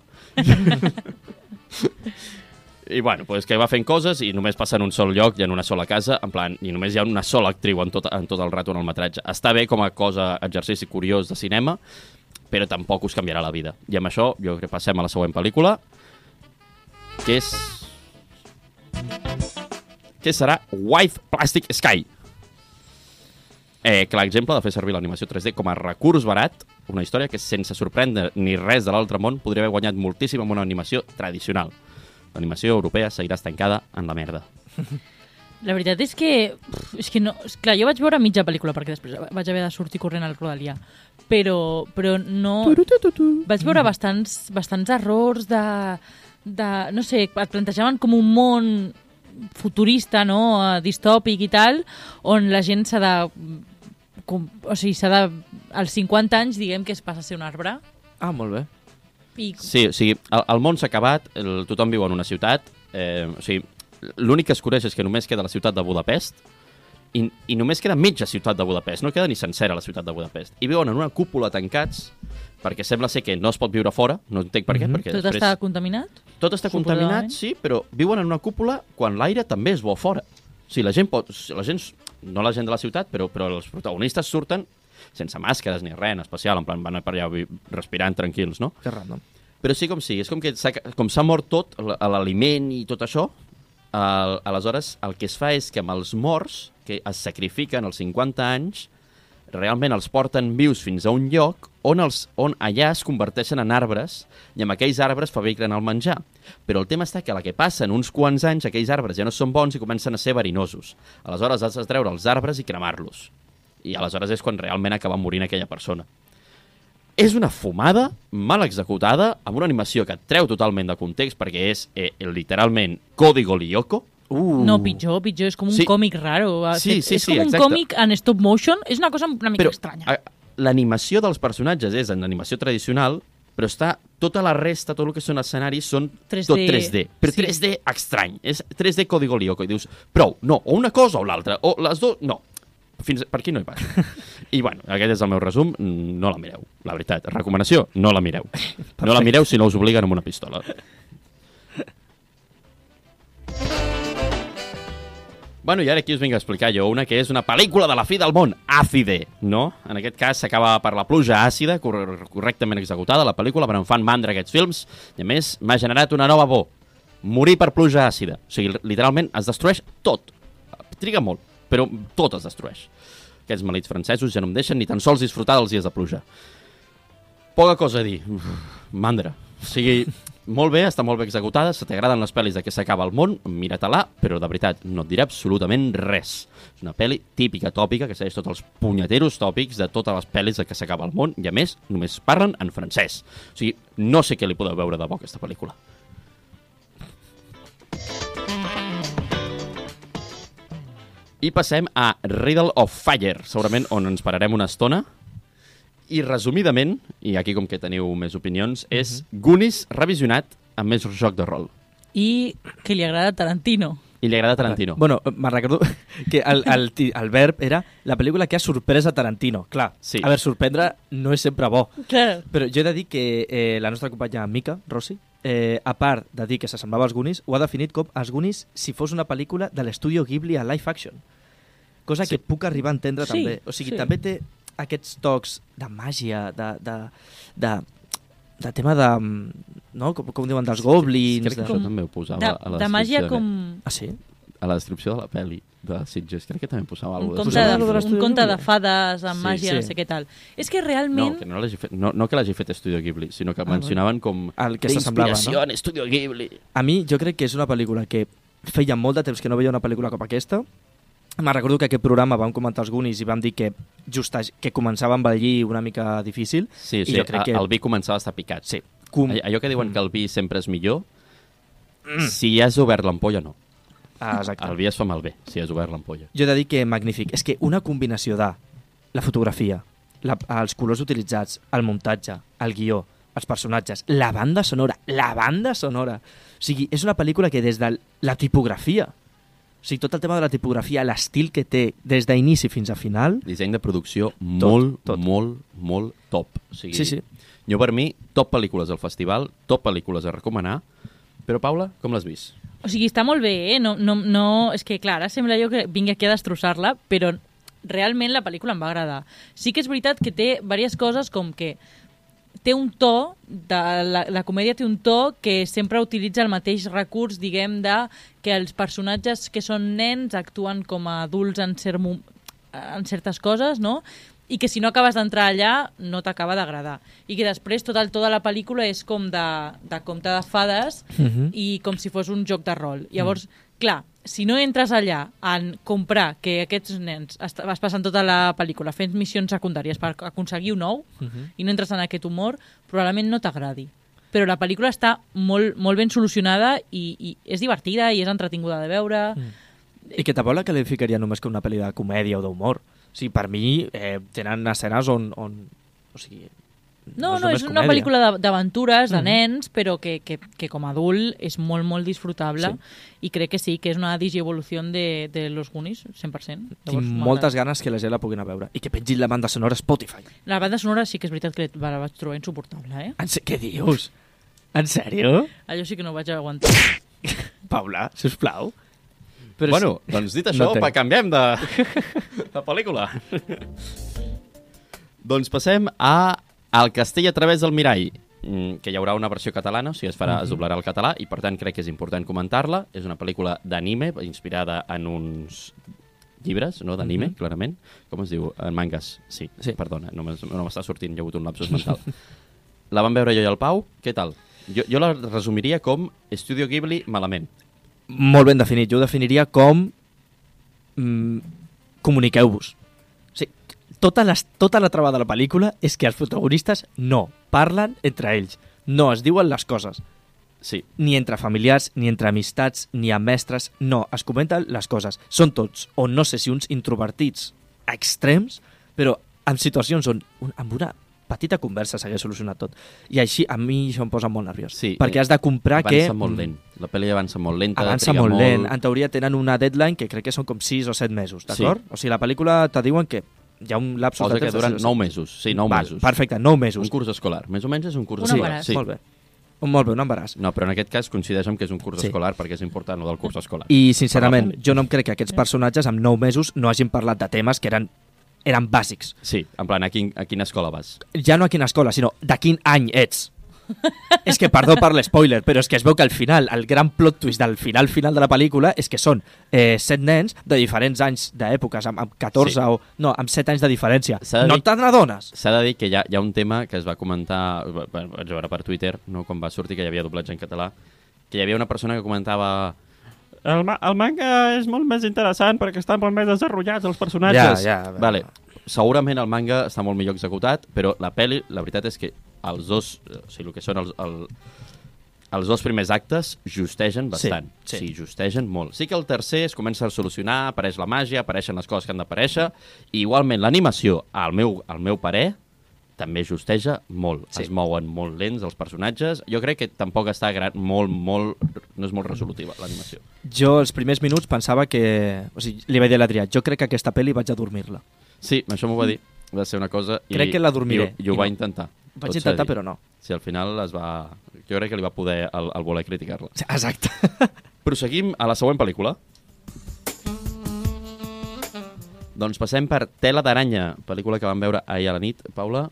I bueno, pues que va fent coses i només passa en un sol lloc i en una sola casa, en plan, i només hi ha una sola actriu en tot, en tot el rato en el metratge. Està bé com a cosa, exercici curiós de cinema, però tampoc us canviarà la vida. I amb això jo crec que passem a la següent pel·lícula, que és... que serà Wife Plastic Sky. Eh, que l'exemple de fer servir l'animació 3D com a recurs barat, una història que sense sorprendre ni res de l'altre món podria haver guanyat moltíssim amb una animació tradicional. L'animació europea seguirà estancada en la merda.
La veritat és que... pff, És que no, és clar, jo vaig veure mitja pel·lícula perquè després vaig haver de sortir corrent al Rodalia. Però, però no... Vaig veure bastants, bastants errors de, de... No sé, et plantejaven com un món futurista, no?, eh, distòpic i tal, on la gent s'ha de com- o sigui, s'ha de... Als 50 anys, diguem que es passa a ser un arbre.
Ah, molt bé.
I
Sí, o sigui, el, el món s'ha acabat, el, tothom viu en una ciutat, eh, o sigui, l'únic que es coneix és que només queda la ciutat de Budapest i, i només queda mitja ciutat de Budapest, no queda ni sencera la ciutat de Budapest. I viuen en una cúpula tancats perquè sembla ser que no es pot viure fora, no entenc per què, mm -hmm. perquè
Mhm. tot
després...
està contaminat.
Tot està
Suposadament.
contaminat, sí, però viuen en una cúpula quan l'aire també és bo fora. O sigui, la gent pot... La gent, no la gent de la ciutat, però, però els protagonistes surten sense màscares ni res en especial, en plan van per allà vi- respirant tranquils, no?
Que random.
Però sí com sí, és com que s'ha ca- com s'ha mort tot, l- l'aliment i tot això, el, aleshores el que es fa és que amb els morts, que es sacrifiquen als 50 anys, realment els porten vius fins a un lloc on, els, on allà es converteixen en arbres i amb aquells arbres fabriquen el menjar. Però el tema està que a la que passen uns quants anys aquells arbres ja no són bons i comencen a ser verinosos. Aleshores has de treure els arbres i cremar-los. I aleshores és quan realment acaba morint aquella persona. És una fumada mal executada amb una animació que et treu totalment de context perquè és eh, literalment Código Lyoko.
Uh,
No, pitjor, pitjor. És com un
Mm. Sí.
còmic raro. Va,
Sí,
fet-
sí,
és
sí,
com
exacte.
un còmic en stop motion. És una cosa una mica estranya.
a- eh, L'animació dels personatges és en animació tradicional, però està tota la resta, tot el que són escenaris, són
3D.
tot 3D. Però
Sí.
3D estrany. És 3D Código Lyoko. I dius, prou, no, o una cosa o l'altra, o les dues, no. Fins per aquí no hi
(laughs)
passa. I bueno, aquest és el meu resum, no la mireu, la veritat. Recomanació, no la
(laughs)
mireu. No la mireu si no us obliguen amb una pistola. Bueno, i ara aquí us vinc a explicar jo una que és una pel·lícula de la fi del món, Àcide, no? En aquest cas s'acaba per la pluja àcida, cor correctament executada, la pel·lícula, però em fan mandra aquests films, i a més m'ha generat una nova por, morir per pluja àcida. O sigui, literalment es destrueix tot. Triga molt, però tot es destrueix. Aquests malits francesos ja no em deixen ni tan sols disfrutar dels dies de pluja. Poca cosa a dir. Uf, mandra. O sigui, molt bé, està molt bé executada, se t'agraden les pel·lis de què s'acaba el món, mira-te-la, però de veritat, no et diré absolutament res. És una pel·li típica, tòpica, que segueix tots els punyeteros tòpics de totes les pel·lis de què s'acaba el món, i a més, només parlen en francès. O sigui, no sé què li podeu veure de bo a aquesta pel·lícula. I passem a Riddle of Fire, segurament on ens pararem una estona, i resumidament, i aquí com que teniu més opinions, és Goonies revisionat amb més joc de rol.
I que li agrada a Tarantino.
I li agrada Tarantino.
Bueno, eh, me'n recordo (laughs) que el, el, ti- el verb era la pel·lícula que ha sorprès a Tarantino. Clar,
Sí.
a veure, sorprendre no és sempre bo.
Clar.
Però jo he de dir que eh, la nostra companya Mica, Rossi, eh, a part de dir que s'assemblava als Goonies, ho ha definit com els Goonies si fos una pel·lícula de l'estudio Ghibli a live action. Cosa sí. que puc arribar a entendre
Sí,
també. O sigui,
sí.
també té aquests tocs de màgia, de... de, de de tema de... mm, No? Com, com diuen, dels goblins...
Crec que
De...
això
Com-
també ho posava
De,
a eh? la
de màgia
descripció
com...
Ah, sí?
De, a la descripció de la pel·li de Sitges. Crec que també posava
Un
alguna
conte,
cosa
Posava
de,
algo de
un
l'estudi
conte de
Ghibli.
fades, de
Sí,
màgia,
sí.
no sé què tal. És que
No,
realment...
que no, l'hagi fet, no, no que l'hagi fet Estudio Ghibli, sinó que
Ah,
mencionaven com...
El que
"De
s'assemblava, no?"
inspiració en Estudio Ghibli.
A mi jo crec que és una pel·lícula que feia molt de temps que no veia una pel·lícula com aquesta. Me recordo que aquest programa vam comentar els Goonies i vam dir que just a, que començava amb el lli una mica difícil.
Sí,
I
sí,
jo
a-
crec que-
el vi començava a estar picat.
Sí. Com...
All- Allò que diuen que el vi sempre és millor, si ja has obert l'ampolla, no.
Ah, exacte.
El vi es fa malbé, si has obert l'ampolla.
Jo he de dir que magnífic. És que una combinació de la fotografia, la, els colors utilitzats, el muntatge, el guió, els personatges, la banda sonora, la banda sonora. O sigui, és una pel·lícula que des de la tipografia, o sigui, tot el tema de la tipografia, l'estil que té des d'inici fins a final,
Disseny de producció molt,
tot.
tot. molt, molt top. O sigui,
Sí, sí.
Jo per mi, top pel·lícules al festival, top pel·lícules a recomanar, però Paula, com l'has vist?
O sigui, està molt bé, eh? No, no, no... És que, clar, ara sembla jo que vingui aquí a destrossar-la, però realment la pel·lícula em va agradar. Sí que és veritat que té diverses coses com que té un to, de, la, la comèdia té un to que sempre utilitza el mateix recurs, diguem, de que els personatges que són nens actuen com a adults en, cert, mo- en certes coses, no? I que si no acabes d'entrar allà, no t'acaba d'agradar. I que després tot el to de la pel·lícula és com de, de conte de fades
Mhm.
i com si fos un joc de rol. Llavors, clar, si no entres allà en comprar que aquests nens est- vas passant tota la pel·lícula fent missions secundàries per aconseguir un nou
Mhm.
i no entres en aquest humor, probablement no t'agradi. Però la pel·lícula està molt, molt ben solucionada i, i és
Mm.
divertida i és entretinguda de veure.
I que tampoc la qualificaria només com una pel·li de comèdia o d'humor, sigui, per mi eh, tenen escenes on... on o sigui,
No, no, és
només
una
comèdia. Mhm.
pel·lícula de- d'aventures, de nens, però que, que, que com a adult és molt, molt disfrutable i crec que sí, que és una digievolució de, de los Goonies, 100%.
Tinc
Llavors,
moltes
m'agrada.
ganes que la gent la puguin a veure i que pengin la banda sonora a Spotify.
La banda sonora sí que és veritat que la vaig trobar insuportable, eh?
En sé, què dius? En sèrio?
Allò Ah, sí que no ho vaig aguantar.
Paula, si us plau.
Però bueno, doncs dit això,
No té.
no canviem de, de (laughs) pel·lícula. doncs passem a El castell a través del mirall, mm, que hi haurà una versió catalana, o sigui, es, farà, es doblarà al català, i per tant crec que és important comentar-la. És una pel·lícula d'anime, inspirada en uns llibres, no?, d'anime, clarament. Com es diu? En mangas, sí.
Sí.
Mhm. sí. Perdona, no m'es- no m'està sortint, hi ha hagut un lapsus mental. (laughs) la van veure jo i el Pau, què tal? Jo, jo la resumiria com Studio Ghibli malament.
Molt ben definit. Jo ho definiria com... Mm, comuniqueu-vos. O sigui, tota, les, tota la trava de la pel·lícula és que els protagonistes no parlen entre ells. No es diuen les coses.
Sí,
Ni entre familiars, ni entre amistats, ni amb mestres. No, es comenten les coses. Són tots, o no sé si uns introvertits extrems, però en situacions on un, amb una petita conversa s'hagués solucionat tot. I així a mi això em posa molt nerviós.
Sí, eh,
perquè has de comprar
avança
que... mm,
molt lent. La pel·li avança molt lenta,
Avança
triga
molt, molt lent. En teoria tenen una deadline que crec que són com 6 o 7 mesos, d'acord? Sí. O sigui, la pel·lícula te diuen que hi ha un lapsus
Cosa
de
que
temps de
duren
sis o
9
set.
mesos. Sí, 9
Val,
mesos.
Perfecte, 9
Un
mesos.
curs escolar. Més o menys és un curs
Un
escolar.
embaràs.
Sí.
Molt bé. Un, molt bé, un embaràs.
No, però en aquest cas coincideix amb que és un curs
Sí.
sí. escolar perquè és important el del curs escolar.
I, sincerament, jo no em crec que aquests personatges amb 9 mesos no hagin parlat de temes que eren, eren bàsics.
Sí, en plan, a, quin, a quina escola vas?
Ja no a quina escola, sinó de quin any
(laughs)
ets. és que, perdó per l'espoiler, però és que es veu que al final, el gran plot twist del final final de la pel·lícula és que són eh, set nens de diferents anys d'èpoques, amb, amb
Sí.
14 sí. o... No, amb 7 anys de diferència.
S'ha de
No
dir-
te n'adones?
S'ha de dir que hi ha, hi ha un tema que es va comentar, va- va- vaig veure per Twitter, no, quan va sortir que hi havia doblatge en català, que hi havia una persona que comentava el, ma el manga és molt més interessant perquè estan molt més desenrotllats els personatges.
Ja, ja.
Vale. Segurament el manga està molt millor executat, però la pel·li, la veritat és que els dos, eh, o sigui, el que són els, el, els dos primers actes justegen bastant.
sí.
sí, justegen molt. Sí que el tercer es comença a solucionar, apareix la màgia, apareixen les coses que han d'aparèixer, i igualment l'animació, al meu, al meu parer, també justeja molt. Sí. Es mouen molt lents els personatges. Jo crec que tampoc està gran, molt, molt... No és molt resolutiva, l'animació.
Jo, els primers minuts, pensava que... O sigui, li vaig dir a l'Adrià, jo crec que aquesta pel·li vaig a dormir-la.
Sí, això m'ho va dir. Va ser una cosa... I,
Crec que la dormiré.
I, ho- i ho
I
va
no.
intentar.
Vaig
Tot s'ha de
intentar,
dir.
però no.
Sí, al final es va... Jo crec que li va poder el, el voler criticar-la.
Exacte.
Proseguim a la següent pel·lícula. Doncs passem per Tela d'aranya, pel·lícula que vam veure ahir a la nit. Paula,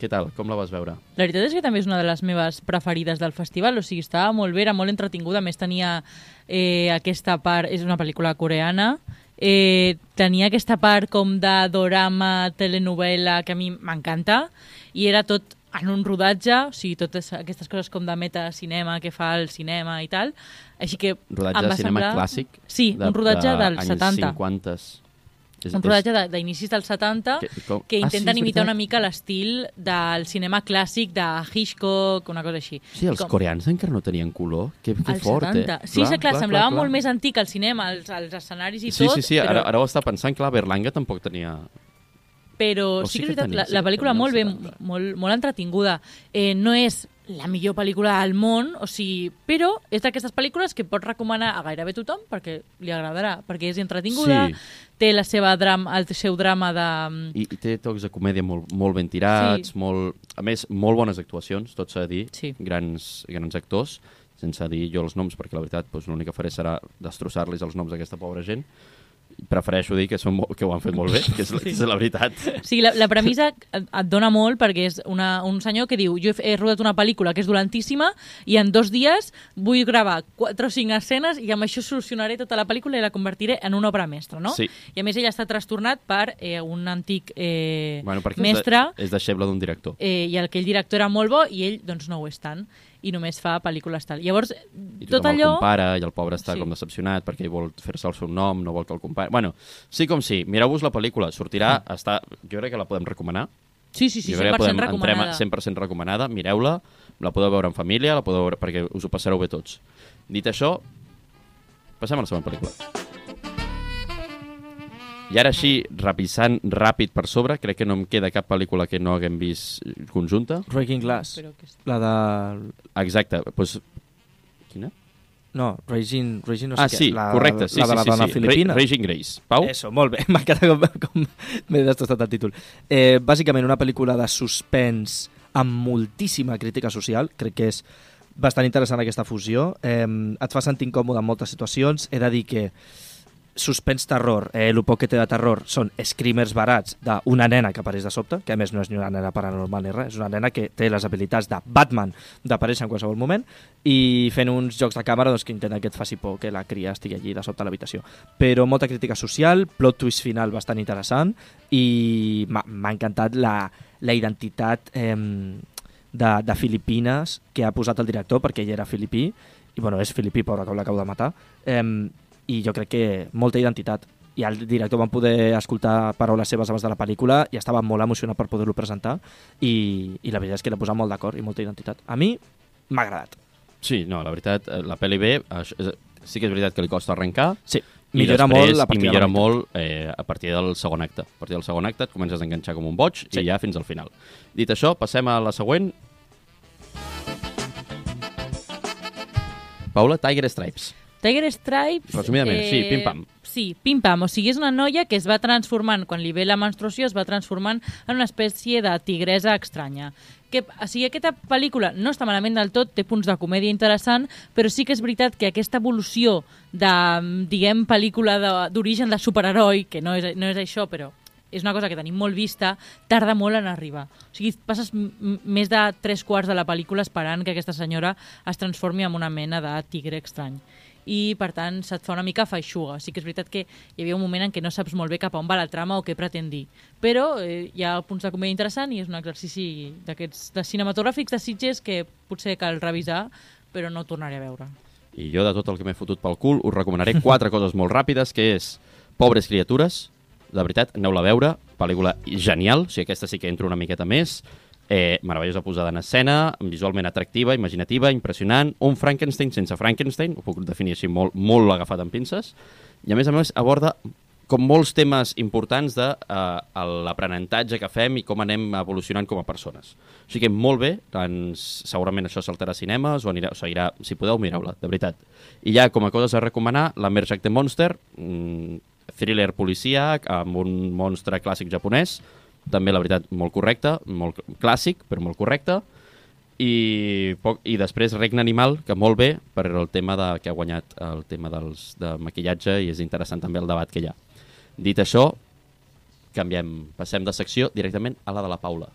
què tal? Com la vas veure?
La veritat és que també és una de les meves preferides del festival, o sigui, estava molt bé, era molt entretinguda, a més tenia eh, aquesta part, és una pel·lícula coreana, eh, tenia aquesta part com de dorama, telenovela, que a mi m'encanta, i era tot en un rodatge, o sigui, totes aquestes coses com de metacinema que fa el cinema i tal, així que
Rodatge
em
de
va
cinema
semblar...
clàssic?
Sí,
de,
un rodatge
de
dels
anys
70.
50. És,
un rodatge de- d'inicis dels 70
Que-
que,
com-
que
Ah, sí,
intenten
és
imitar
veritat.
una mica l'estil del cinema clàssic de Hitchcock, una cosa així.
Sí, els
Com-
coreans encara no tenien color. Que, que
als
fort,
70.
eh?
Sí, clar, clar, semblava molt més antic el cinema, els, els escenaris i
Sí,
tot,
sí, sí,
però,
ara, ara ho està pensant, clar, Berlanga tampoc tenia...
però
o sí
sí que
que
és veritat,
tenia,
la,
sí
la
que
pel·lícula
tenia
molt bé,
el 70.
molt, molt entretinguda. Eh, no és la millor pel·lícula del món, o sigui, però és d'aquestes pel·lícules que pots recomanar a gairebé tothom perquè li agradarà, perquè és entretinguda,
Sí.
té la seva drama, el seu drama de,
I, i té tocs de comèdia molt, molt ben tirats,
Sí.
sí. molt, a més, molt bones actuacions, tot s'ha de dir,
Sí.
grans, grans actors, sense dir jo els noms, perquè la veritat doncs, l'únic que faré serà destrossar-los els noms a aquesta pobra gent. Prefereixo dir que, són molt, que ho han fet molt bé, que és, la- que és la veritat.
Sí, la, la premissa et, et dona molt perquè és una, un senyor que diu jo he, f- he rodat una pel·lícula que és dolentíssima i en dos dies vull gravar quatre o cinc escenes i amb això solucionaré tota la pel·lícula i la convertiré en una obra mestra, no?
Sí.
I a més ell està trastornat per eh, un antic eh,
Bueno, perquè
mestre
és, de, és deixeble d'un director.
eh, i el que el director era molt bo i ell doncs no ho és tant i només fa pel·lícules tal. Llavors,
I
tot
tothom
allò...
el compara i el pobre està
Tota Sí.
sí. com decepcionat perquè vol fer-se el seu nom, no vol que el compari... Bueno, sí com sí, mireu-vos la pel·lícula, sortirà, està... jo crec que la podem recomanar,
Sí, sí, sí,
jo
100%
crec que podem, entrem a
recomanada.
100% recomanada, mireu-la, la podeu veure en família, la podeu veure perquè us ho passareu bé tots. Dit això, passem a la següent pel·lícula. I ara així, repisant ràpid per sobre, crec que no em queda cap pel·lícula que no haguem vist conjunta.
(laughs) Breaking Glass.
Però que...
La de...
Exacte, doncs... Quina?
No, Raging, Raging no sé
ah,
què.
sí,
la,
correcte, sí,
la de la
sí,
dona
sí, sí.
filipina.
Ra- Raging Grace. Pau?
Eso, molt bé. (laughs) M'ha quedat com... com M'he destrostat el títol. Eh, bàsicament, una pel·lícula de suspens amb moltíssima crítica social. Crec que és bastant interessant aquesta fusió. Eh, et fa sentir incòmode en moltes situacions. He de dir que suspens terror, eh, el poc que té de terror són screamers barats d'una nena que apareix de sobte, que a més no és ni una nena paranormal ni res, és una nena que té les habilitats de Batman d'aparèixer en qualsevol moment i fent uns jocs de càmera doncs, que intenten que et faci por que la cria estigui allí de sobte a l'habitació. Però molta crítica social, plot twist final bastant interessant i m'ha m'ha encantat la, la identitat eh, de, de Filipines que ha posat el director perquè ell era filipí i bueno, és filipí, pobre, que l'acabo de matar eh, i jo crec que molta identitat i el director van poder escoltar paraules seves abans de la pel·lícula i estava molt emocionat per poder-lo presentar i, i la veritat és que l'ha posat molt d'acord i molta identitat. A mi m'ha agradat.
Sí, no, la veritat, eh, la pel·li bé, això, és- sí que és veritat que li costa arrencar,
Sí,
i
millora
després,
molt la
i
partida.
millora molt eh, a partir del segon acte. A partir del segon acte et comences a enganxar com un boig sí. i ja fins al final. Dit això, passem a la següent. Paula, Tiger Stripes.
Tiger Stripes... eh,
Resumidament, sí, pim-pam.
Sí, pim-pam. O sigui, és una noia que es va transformant, quan li ve la menstruació, es va transformant en una espècie de tigresa estranya. Que, o sigui, aquesta pel·lícula no està malament del tot, té punts de comèdia interessant, però sí que és veritat que aquesta evolució de, mm, diguem, pel·lícula de- d'origen de, de superheroi, que no és, no és això, però és una cosa que tenim molt vista, tarda molt en arribar. O sigui, passes m- m- més de tres quarts de la pel·lícula esperant que aquesta senyora es transformi en una mena de tigre estrany i per tant se't fa una mica feixuga. Sí que és veritat que hi havia un moment en què no saps molt bé cap a on va la trama o què pretén dir, però eh, hi ha punts de comèdia interessant i és un exercici d'aquests de cinematogràfics de Sitges que potser cal revisar, però no tornaré a veure.
I jo, de tot el que m'he fotut pel cul, us recomanaré quatre coses molt ràpides, que és Pobres criatures, de veritat, aneu-la a veure, pel·lícula genial, o sigui, aquesta sí que entro una miqueta més, eh, meravellosa posada en escena, visualment atractiva, imaginativa, impressionant, un Frankenstein sense Frankenstein, ho puc definir així molt, molt agafat amb pinces, i a més a més aborda com molts temes importants de eh, l'aprenentatge que fem i com anem evolucionant com a persones. O sigui que molt bé, ens, segurament això saltarà a cinemes o anirà, o seguirà, si podeu, mireu-la, de veritat. I ja, com a coses a recomanar, la Merge the Monster, mm, thriller policíac amb un monstre clàssic japonès, també, la veritat, molt correcte, molt cl- clàssic, però molt correcte, i, poc, i després Regne Animal, que molt bé per el tema de, que ha guanyat el tema dels, de maquillatge i és interessant també el debat que hi ha. Dit això, canviem, passem de secció directament a la de la Paula.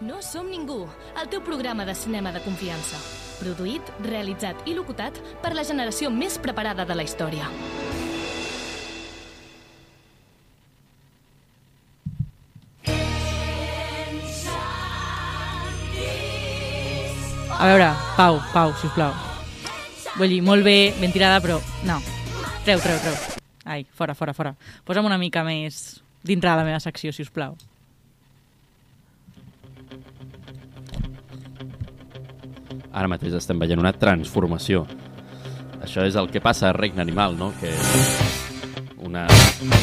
No som ningú, el teu programa de cinema de confiança. Produït, realitzat i locutat per la generació més preparada de la història.
A veure, Pau, Pau, si us plau. Vull dir, molt bé, ben tirada, però no. Treu, treu, treu. Ai, fora, fora, fora. Posa'm una mica més dintre de la meva secció, si us plau.
Ara mateix estem veient una transformació. Això és el que passa a Regne Animal, no? Que una,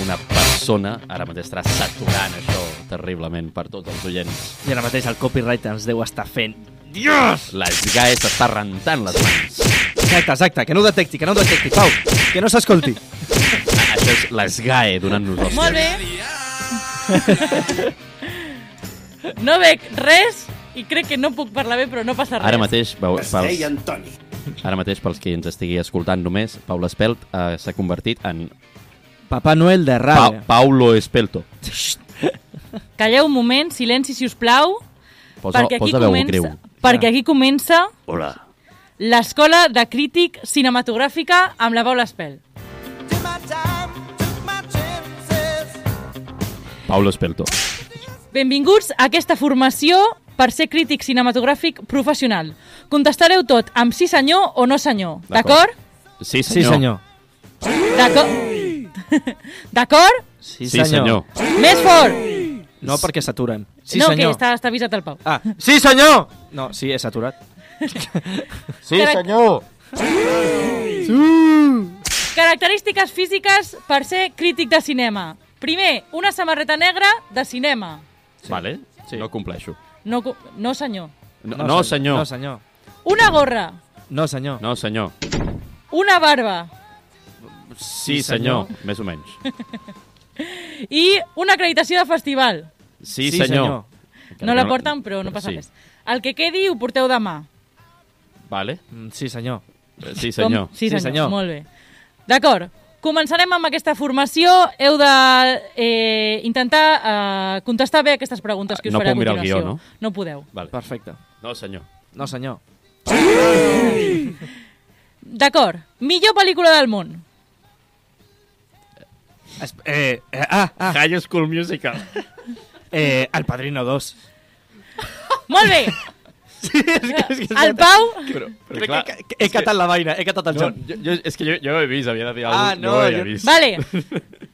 una persona ara mateix estarà saturant això terriblement per tots els oients.
I ara mateix el copyright ens deu estar fent...
Les gaes s'està rentant les mans.
Exacte, exacte, que no ho detecti, que no ho detecti, Pau, que no s'escolti.
Això és les gae donant-nos hòsties.
Molt bé. No veig res i crec que no puc parlar bé, però no passa res.
Ara mateix, veu,
Es
pels,
deia Antoni.
ara mateix, pels qui ens estigui escoltant només, Paula Espelt eh, s'ha convertit en
Papà Noel de
pa
ràbia.
Paulo Espelto.
Calleu un moment, silenci, si us plau,
Posa,
perquè aquí
posa veu
comença,
greu.
perquè aquí comença
Hola.
l'Escola de Crític Cinematogràfica amb la Paula Espel.
Paulo Espelto.
Benvinguts a aquesta formació per ser crític cinematogràfic professional. Contestareu tot amb sí senyor o no senyor,
D'acord.
d'acord?
Sí, senyor.
Sí, senyor.
D'acord? (laughs) D'acord?
Sí,
Sí, senyor.
Més fort!
No, perquè s'aturen. Sí,
no, que
senyor.
està, està avisat el Pau.
Ah, sí, senyor! No, sí, és aturat.
Sí,
Crec-
senyor!
Característiques físiques per ser crític de cinema. Primer, una samarreta negra de cinema.
Vale?
Sí.
No compleixo.
No, co- no senyor.
No, no, senyor.
No, senyor.
Una gorra.
No, senyor.
No, senyor.
Una barba.
Sí,
Sí,
senyor.
senyor.
Més o menys.
I una acreditació de festival.
Sí, senyor.
No la porten, però no passa
sí.
res. El que quedi ho porteu demà.
Vale.
Mm, Sí, senyor.
Eh, Sí, senyor.
Sí,
Sí,
senyor.
senyor.
Molt bé. D'acord. Començarem amb aquesta formació. Heu de eh, intentar eh, contestar bé aquestes preguntes que us
No
faré a
puc mirar el
continuació.
guió, no?
no podeu.
Vale.
Perfecte.
No, senyor.
No, senyor.
D'acord. Millor pel·lícula del món.
Es- Eh, eh, ah, ah,
High School
(laughs)
Musical.
eh, El Padrino 2.
(laughs)
Molt bé.
Sí,
Ah,
és que, és que,
El Pau...
Però,
Crec que, que he catat la vaina, he catat el
No,
joc.
jo, jo, és que jo, jo ho he vist, havia de dir
Ah,
alguna cosa.
no,
no, ho havia
jo-
vist.
Vale.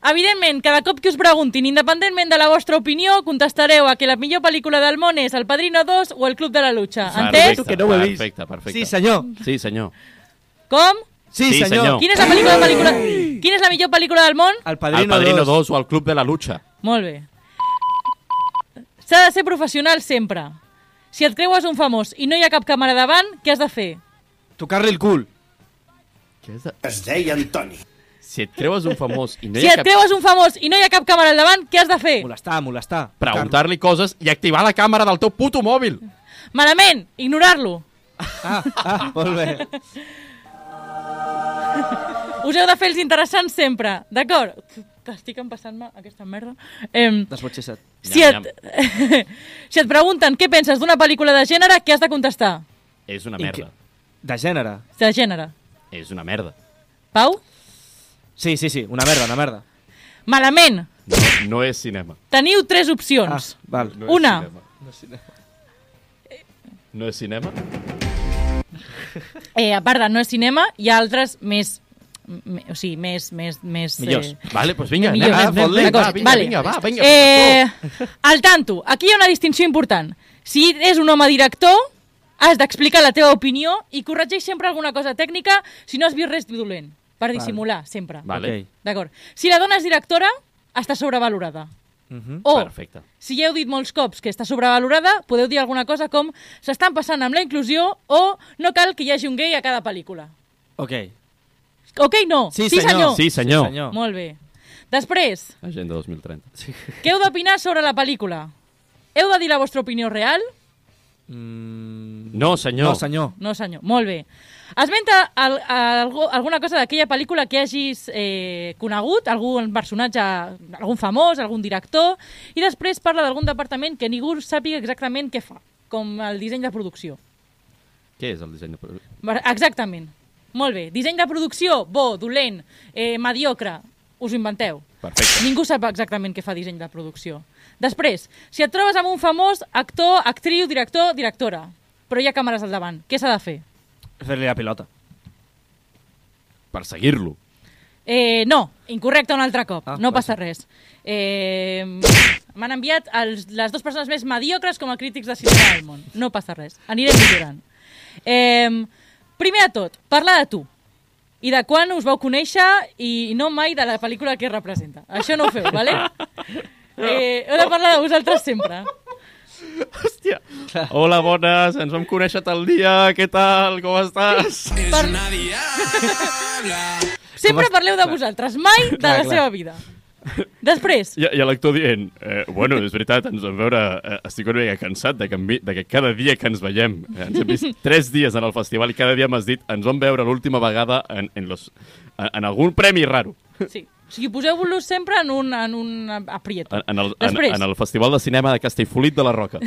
Evidentment, cada cop que us preguntin, independentment de la vostra opinió, contestareu a que la millor pel·lícula del món és El Padrino 2 o El Club de la Lucha. Entès?
Perfecte,
Que no ho he vist.
Perfecte, perfecte.
Sí, senyor.
Sí, senyor.
Com?
Sí,
Sí,
senyor.
senyor.
Quina és la pel·lícula, pel·lícula... Quina és la millor pel·lícula del món?
El
Padrino,
Padrino,
Padrino
2.
2 o el Club de la Lucha.
Molt bé. S'ha de ser professional sempre. Si et creues un famós i no hi ha cap càmera davant, què has de fer?
Tocar-li el cul.
Què és de...
Es deia Antoni.
Si et creues un famós i no
Si
hi ha
et
cap...
creues un famós i no hi ha cap càmera al davant, què has de fer?
Molestar, molestar.
Preguntar-li coses i activar la càmera del teu puto mòbil.
Malament, ignorar-lo.
Ah, ah, molt bé.
Us heu de fer els interessants sempre, d'acord? Que estic empassant-me aquesta merda. Em,
Desbotxissa't.
si,
Nyam,
et, (laughs) si et pregunten què penses d'una pel·lícula de gènere, què has de contestar?
És una
I
merda.
De gènere.
De gènere.
És una merda.
Pau?
Sí, sí, sí, una merda, una merda.
Malament.
No, no és cinema.
Teniu tres opcions.
Ah, val.
No
Una.
És cinema. Eh. No és cinema?
Eh, a part de no és cinema, hi ha altres més... m- O sigui, més... més, més eh,
Millors.
Vale, pues vinga, anem,
millors.
ah, fot-li,
D'acord,
va, vinga,
vale.
vinga, va, vinga.
Eh, al tanto, aquí hi ha una distinció important. Si és un home director, has d'explicar la teva opinió i corregeix sempre alguna cosa tècnica si no has vist res dolent, per dissimular, sempre.
Vale.
Ok.
D'acord. Si la dona és directora, està sobrevalorada.
Mhm.
O,
Perfecte.
si ja heu dit molts cops que està sobrevalorada, podeu dir alguna cosa com s'estan passant amb la inclusió o no cal que hi hagi un gay a cada pel·lícula.
Ok.
Ok, no.
Sí,
senyor.
senyor.
Sí, senyor.
Sí, senyor.
Molt bé. Després,
Agenda 2030. Sí.
què heu d'opinar sobre la pel·lícula? Heu de dir la vostra opinió real?
Mm,
No, senyor.
No, senyor.
No, senyor. Molt bé. Esmenta al, a algú, alguna cosa d'aquella pel·lícula que hagis eh, conegut, algun personatge, algun famós, algun director, i després parla d'algun departament que ningú sàpiga exactament què fa, com el disseny de producció.
Què és el disseny de... pro-
Bar- Exactament. Molt bé. Disseny de producció, bo, dolent, eh, mediocre, us ho inventeu.
Perfecte.
Ningú sap exactament què fa disseny de producció. Després, si et trobes amb un famós actor, actriu, director, directora, però hi ha càmeres al davant, què s'ha de fer?
Fer-li la pilota.
Perseguir-lo.
Eh, no, incorrecte un altre cop,
Ah,
no
vaja.
passa res. Eh, M'han enviat els, les dues persones més mediocres com a crítics de cinema del món. No passa res, anirem millorant. Eh, primer de tot, parla de tu i de quan us vau conèixer i no mai de la pel·lícula que representa. Això no ho feu, vale? Eh, heu de parlar de vosaltres sempre.
Hòstia. Hola, bones, ens vam conèixer tal dia, què tal, com estàs?
Es
Per-
una diabla.
Sempre parleu de vosaltres, mai de la
Clar, clar.
seva vida. Després,
(laughs) I, i l'actor dient, eh, bueno, és veritat, ens vam veure, eh, estic una mica cansat de que, em vi- de que cada dia que ens veiem, eh, ens hem
(laughs)
vist tres dies en el festival i cada dia m'has dit, ens vam veure l'última vegada en, en, los, en, en algun premi raro.
sí. O sigui, poseu-vos sempre en un, en un aprieto.
En, en, el, en,
Després.
en el Festival de Cinema de Castellfollit de la
(laughs)
Roca.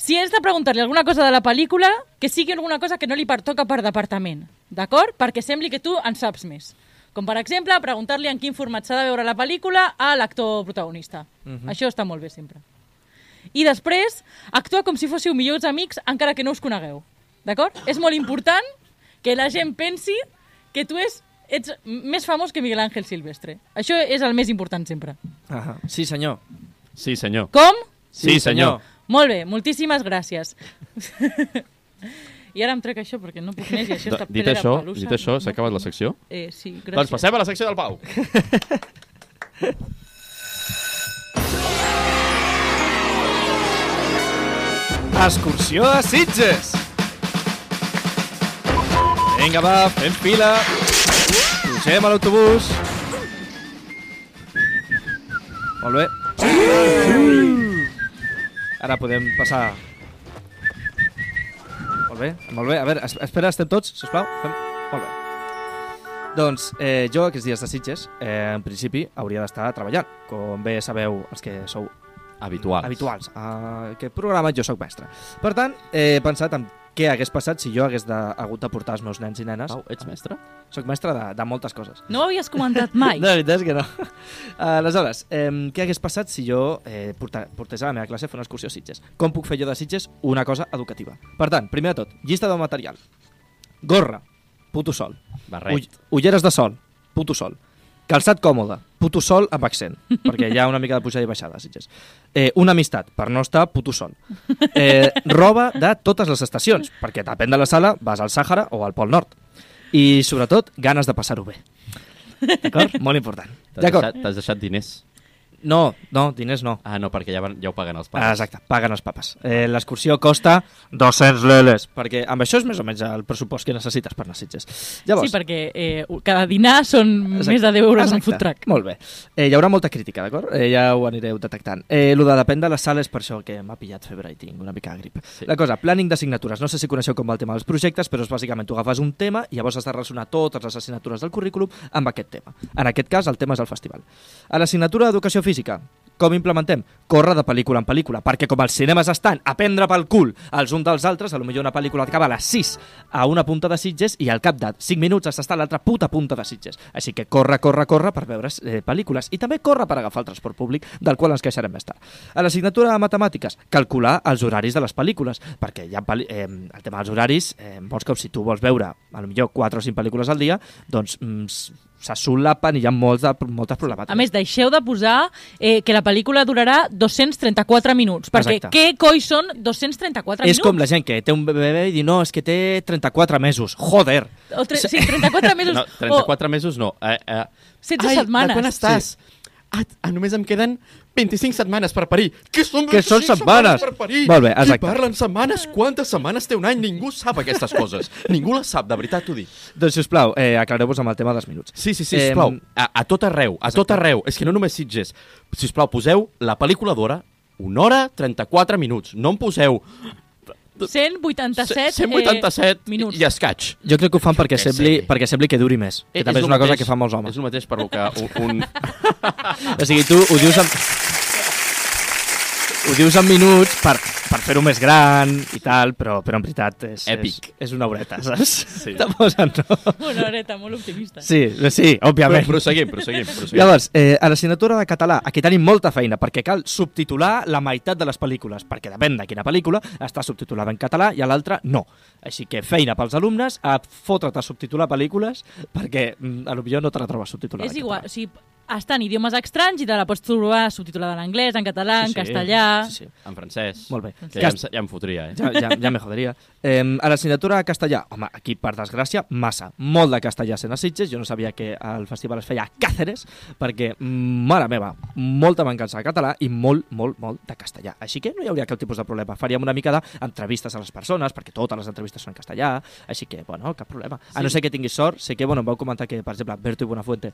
Si has de preguntar-li alguna cosa de la pel·lícula, que sigui alguna cosa que no li pertoca per departament, d'acord? Perquè sembli que tu en saps més. Com, per exemple, preguntar-li en quin format s'ha de veure la pel·lícula a l'actor protagonista. Això està molt bé sempre. I després, actua com si fóssiu millors amics encara que no us conegueu, d'acord? És molt important que la gent pensi que tu és, ets més famós que Miguel Ángel Silvestre. Això és el més important sempre.
Ahà. Sí, senyor.
Sí, senyor.
Com?
Sí, senyor.
Molt bé, moltíssimes gràcies. I ara em trec això perquè no puc més i això
Do-
està
dit
ple de
això,
pelussa.
dit això, s'ha acabat la secció?
Eh, sí, gràcies.
Doncs passem a la secció del Pau.
Excursió a Sitges! Vinga, va, fem fila! Pugem a l'autobús! Molt bé. Ara podem passar... Molt bé, molt bé. A veure, es- espera, estem tots, sisplau? Fem... Molt bé. Doncs eh, jo aquests dies de Sitges, eh, en principi, hauria d'estar treballant, com bé sabeu els que sou
Habituals.
habituals. A aquest programa jo sóc mestre. Per tant, eh, he pensat en què hagués passat si jo hagués de, hagut de portar els meus nens i nenes.
Pau, ets mestre?
Soc mestre de, de moltes coses.
No ho havies comentat mai.
(laughs) No, la veritat és que no. Aleshores, eh, què hagués passat si jo eh, porta, portés a la meva classe a fer una excursió a Sitges? Com puc fer jo de Sitges una cosa educativa? Per tant, primer de tot, llista de material. Gorra, puto sol.
Barret.
Ull- Ulleres de sol, puto sol. Calçat còmode, puto sol amb accent, perquè hi ha una mica de pujada i baixada, a Sitges. Eh, una amistat, per no estar puto sol. Eh, roba de totes les estacions, perquè depèn de la sala, vas al Sàhara o al Pol Nord. I, sobretot, ganes de passar-ho bé. D'acord? Molt important.
T'has
D'acord?
deixat, t'has deixat diners.
No, no, diners no.
Ah, no, perquè ja, van, ja ho paguen els
Ah,
pares.
Exacte, paguen els papes. Eh, L'excursió costa 200 leles, perquè amb això és més o menys el pressupost que necessites per anar a Sitges. Llavors,
Sí, perquè eh, cada dinar són
Exacte.
més de 10 euros en
Exacte.
food truck.
Molt bé. Eh, hi haurà molta crítica, d'acord? Eh, ja ho anireu detectant. Eh, lo de depèn de la sala és per això que m'ha pillat febre i tinc una mica de grip. Sí. La cosa, planning d'assignatures. No sé si coneixeu com va el tema dels projectes, però és bàsicament tu agafes un tema i llavors has de relacionar totes les assignatures del currículum amb aquest tema. En aquest cas, el tema és el festival. A l'assignatura d'educació física, com implementem? Corre de pel·lícula en pel·lícula, perquè com els cinemes estan a prendre pel cul els uns dels altres, a lo millor una pel·lícula acaba a les 6 a una punta de Sitges i al cap de 5 minuts has d'estar a l'altra puta punta de Sitges. Així que corre, corre, corre per veure eh, pel·lícules i també corre per agafar el transport públic, del qual ens queixarem més tard. A l'assignatura de matemàtiques, calcular els horaris de les pel·lícules, perquè hi ha pel·li- eh, el tema dels horaris, eh, molts cops si tu vols veure a lo millor 4 o 5 pel·lícules al dia, doncs mm, s- s'assolapen i hi ha molts de, moltes problemàtiques.
A més, deixeu de posar eh, que la pel·lícula durarà 234 minuts, perquè
Exacte.
què coi són 234
És
minuts?
com la gent que té un bebè i diu no, és que té 34 mesos. Joder!
O tre... Sí, 34 mesos
No, 34 mesos no. Eh, eh.
16 setmanes.
de quan estàs? Ah, ah, només em queden 25 setmanes per parir. Què són
Que són
25
setmanes?
per parir?
Molt bé, exacte.
Qui parla en setmanes? Quantes setmanes té un any? Ningú sap aquestes
(laughs)
coses. Ningú les sap, de veritat t'ho dic.
Doncs, sisplau, eh, aclareu-vos amb el tema dels minuts.
Sí, sí, sí,
Em,
sisplau. A, a tot arreu, a tot arreu. És que no només Sitges. Sisplau, poseu la pel·lícula d'hora, una hora 34 minuts. No em poseu
187,
187
eh, minuts.
i escaig.
Jo crec que ho fan
que
perquè sembli,
sé.
perquè sembli que duri més. Que també és
lo
una cosa
mateix-
que fan molts
És
homes.
el mateix per lo
(laughs)
que un... un...
O sigui, tu ho dius amb... Ho dius en minuts per, per fer-ho més gran i tal, però, però en veritat és,
Èpic.
és, és una horeta, saps? Sí. Te posen, no?
Una horeta, molt optimista.
Sí, sí,
Però,
òbviament.
proseguim, proseguim, proseguim.
Llavors, eh, a l'assignatura de català, aquí tenim molta feina, perquè cal subtitular la meitat de les pel·lícules, perquè depèn de quina pel·lícula, està subtitulada en català i a l'altra no. Així que feina pels alumnes a fotre't a subtitular pel·lícules, perquè mm, a lo millor no te la trobes subtitulada.
És
en
igual, o
català.
sigui, està en idiomes estranys i te la pots trobar subtitulada en anglès, en català,
Sí,
en
sí,
castellà...
Sí, sí.
En francès.
Molt bé.
Que ja, em,
Cast-
ja em fotria, eh?
Ja, ja, ja me joderia. Eh, a l'assignatura de castellà, home, aquí, per desgràcia, massa. Molt de castellà sent a Sitges. Jo no sabia que el festival es feia a Càceres, perquè, mm, mare meva, molta mancança de català i molt, molt, molt de castellà. Així que no hi hauria cap tipus de problema. Faríem una mica d'entrevistes a les persones, perquè totes les entrevistes són en castellà, així que, bueno, cap problema. Sí. A no ser que tinguis sort, sé que, bueno, em vau comentar que, per exemple, Berto i Buenafuente,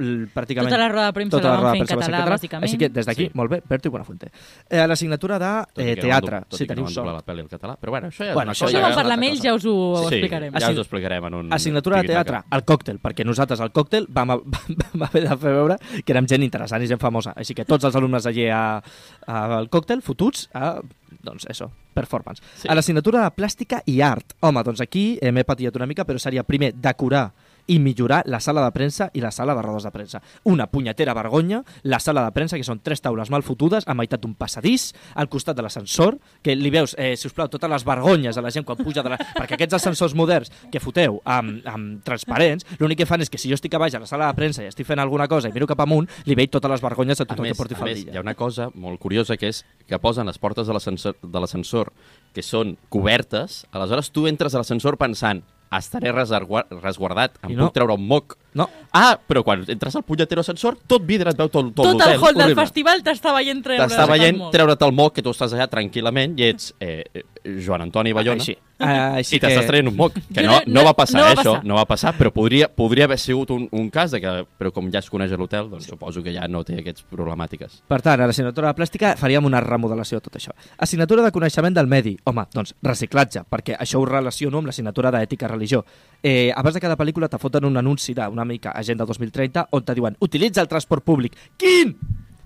l- pràcticament...
Tota la roda de premsa
tota
la van
roda de
fer en
premsa va ser
català, bàsicament.
Així que, des d'aquí,
Sí.
sí. molt bé, Berto i Buenafuente. Eh, a l'assignatura de
Tot i
eh,
que no van
teatre,
doblar- tot i
si
que no
teniu
van
sort.
doblar la pel·li al català, però bueno, això ja
Bueno,
és
això
una cosa...
Això ho
ja
van
és
parlar
una
amb ells, ja us ho
Sí,
explicarem.
ja
Assign-
us ho explicarem en un...
Assignatura de
tiquitaca.
teatre, al còctel, perquè nosaltres al còctel vam, vam, (laughs) vam haver de fer veure que érem gent interessant i gent famosa. Així que tots els alumnes allí a, a, al còctel, fotuts, a, doncs això, performance.
Sí.
Sí. A l'assignatura de plàstica i art. Home, doncs aquí eh, m'he patit una mica, però seria primer decorar i millorar la sala de premsa i la sala de rodes de premsa. Una punyetera vergonya, la sala de premsa, que són tres taules mal fotudes, a meitat d'un passadís, al costat de l'ascensor, que li veus, eh, si us plau, totes les vergonyes de la gent quan puja de la... Perquè aquests ascensors moderns que foteu amb, amb transparents, l'únic que fan és que si jo estic a baix a la sala de premsa i estic fent alguna cosa i miro cap amunt, li veig totes les vergonyes a
A
tothom
més,
que porti
a més,
faldilla.
hi ha una cosa molt curiosa que és que posen les portes de l'ascensor- de l'ascensor que són cobertes, aleshores tu entres a l'ascensor pensant estaré resargua- resguardat, em
I
no.
no.
puc treure un moc.
No.
Ah, però quan entres al punyetero ascensor, tot vidre et veu tot, tot,
Tot el
l'hotel.
hall del
Horrible.
festival t'està veient treure.
T'està
el
veient
moc.
treure't el moc, que tu estàs allà tranquil·lament i ets eh, eh, Joan Antoni Bayona.
Així. Ah, així
(laughs) I t'estàs traient un moc, que
Jo
no,
no-
no, va passar,
no va
eh, això,
passar.
no va passar, però podria, podria haver sigut un, un cas de que, però com ja es coneix a l'hotel, doncs suposo que ja no té aquestes problemàtiques.
Per tant, a l'assignatura de plàstica faríem una remodelació de tot això. Assignatura de coneixement del medi. Home, doncs reciclatge, perquè això ho relaciono amb l'assignatura d'ètica religió. Eh, abans de cada pel·lícula te foten un anunci d'una mica Agenda 2030 on te diuen utilitza el transport públic. Quin?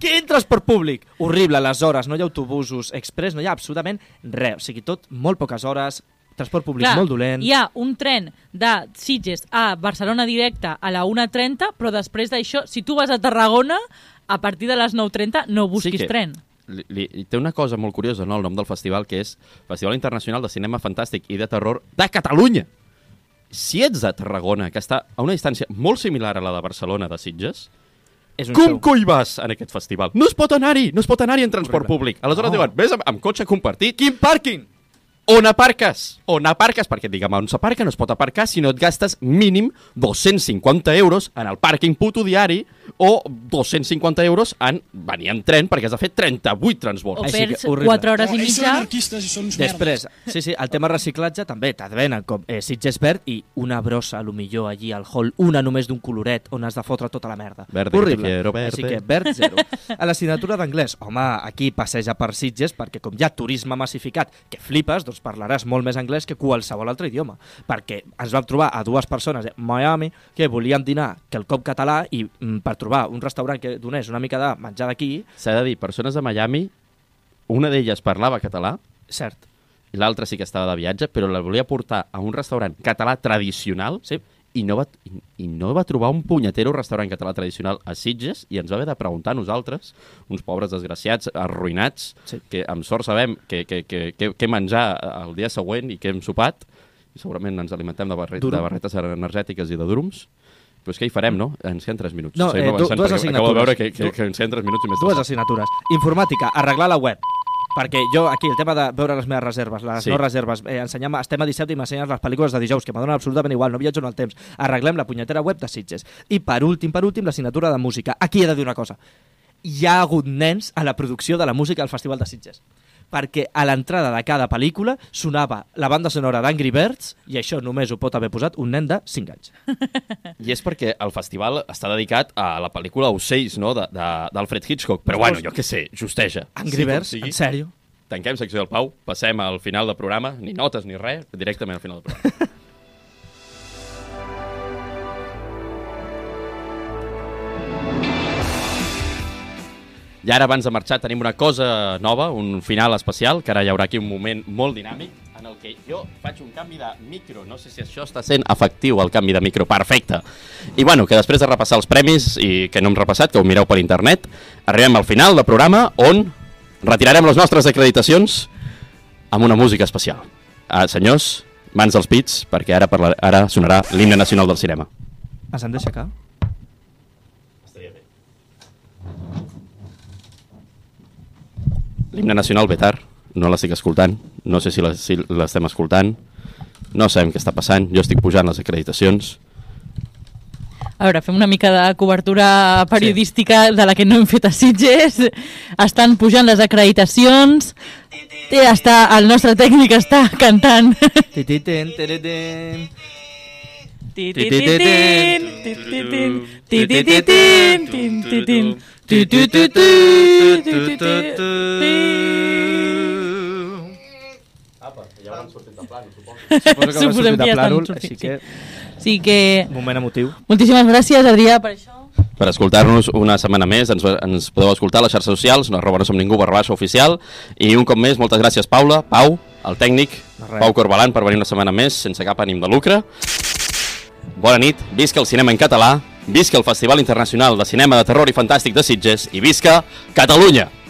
Quin transport públic? Horrible, les hores, no hi ha autobusos express, no hi ha absolutament res. O sigui, tot molt poques hores, transport públic molt dolent.
Hi ha un tren de Sitges a Barcelona directe a la 1.30, però després d'això, si tu vas a Tarragona, a partir de les 9.30 no busquis
que-
tren.
Li, li, i té una cosa molt curiosa, no?, el nom del festival, que és Festival Internacional de Cinema Fantàstic i de Terror de Catalunya. Si ets de Tarragona, que està a una distància molt similar a la de Barcelona de Sitges,
És un
com
show.
coi vas en aquest festival? No es pot anar-hi, no es pot anar-hi en transport
Horrible.
públic. Aleshores
No.
diuen, vés amb, amb cotxe compartit,
Quin pàrquing?
on aparques? On aparques? Perquè et diguem on s'aparca, no es pot aparcar si no et gastes mínim 250 euros en el pàrquing puto diari o 250 euros en venir en tren perquè has de fer 38
O
transbords.
Així que
perds
horrible.
4 hores i mitja...
anarquistes i Oh, són uns
Després, sí, sí, el tema reciclatge també t'advenen com eh, Sitges Verd i una brossa, a lo millor, allí al hall, una només d'un coloret on has de fotre tota la merda.
Verde que te quiero, verde.
Així que verd zero. A l'assignatura d'anglès, home, aquí passeja per Sitges perquè com hi ha turisme massificat que flipes, doncs parlaràs molt més anglès que qualsevol altre idioma. Perquè ens vam trobar a dues persones de Miami que volien dinar quelcom català i mm, per trobar un restaurant que donés una mica de menjar d'aquí,
S'ha de dir, persones de Miami, una d'elles parlava català,
cert,
i l'altra sí que estava de viatge, però la volia portar a un restaurant català tradicional
Sí.
i, no va, i, i no va trobar un punyetero restaurant català tradicional a Sitges i ens va haver de preguntar a nosaltres, uns pobres desgraciats, arruïnats,
Sí.
que amb sort sabem què que, que, que, que menjar el dia següent i què hem sopat, i segurament ens alimentem de, barre,
Durum.
de barretes energètiques i de drums, però és que hi farem, no? Ens queden 3 minuts.
No,
Seguim
eh, du-
avançant,
dues
perquè Acabo de veure
assignatures.
que, que,
Du-
que ens queden 3 minuts i més.
Dues assignatures. Informàtica, arreglar la web. Perquè jo, aquí, el tema de veure les meves reserves, les
Sí.
sí. no reserves, eh, ensenyem, estem a 17 i m'ensenyes les pel·lícules de dijous, que m'adonen absolutament igual, no viatjo en el temps. Arreglem la punyetera web de Sitges. I per últim, per últim, l'assignatura de música. Aquí he de dir una cosa. Hi ha hagut nens a la producció de la música al Festival de Sitges. Perquè a l'entrada de cada pel·lícula sonava la banda sonora d'Angry Birds i això només ho pot haver posat un nen de 5 anys.
I és perquè el festival està dedicat a la pel·lícula Ocells, no?, de- de- d'Alfred Hitchcock. Però bueno, jo què sé, justeja.
Angry
Sigui com
Birds?
sigui,
En sèrio?
Tanquem secció del Pau, passem al final del programa, ni notes ni res, directament al final del programa. I ara, abans de marxar, tenim una cosa nova, un final especial, que ara hi haurà aquí un moment molt dinàmic, en el que jo faig un canvi de micro. No sé si això està sent efectiu, el canvi de micro. Perfecte. I bueno, que després de repassar els premis, i que no hem repassat, que ho mireu per internet, arribem al final del programa on retirarem les nostres acreditacions amb una música especial. Ah, senyors, mans als pits, perquè ara, parlar, ara sonarà l'himne nacional del cinema.
Ens hem d'aixecar?
L'himne nacional ve tard, no l'estic escoltant, no sé si la- si l'estem escoltant, no sabem què està passant, jo estic pujant les acreditacions.
A veure, fem una mica de cobertura periodística sí. de la que no hem fet a Sitges. Estan pujant les acreditacions. Té, està, el nostre tècnic està cantant.
Tititen, tereten.
Suposo que
Suposo que haurà sortit de
ja
plànol,
estan
així
sortint,
que
Sí que...
moment emotiu.
Moltíssimes gràcies, Adrià, per això.
Per escoltar-nos una setmana més, ens, ens podeu escoltar a les xarxes socials, no arroba no som ningú, barra baixa oficial, i un cop més, moltes gràcies Paula, Pau, el tècnic,
De res.
Pau Corbalan, per venir una setmana més, sense cap ànim de lucre. Bona nit, visca el cinema en català, visca el Festival Internacional de Cinema de Terror i Fantàstic de Sitges i visca Catalunya!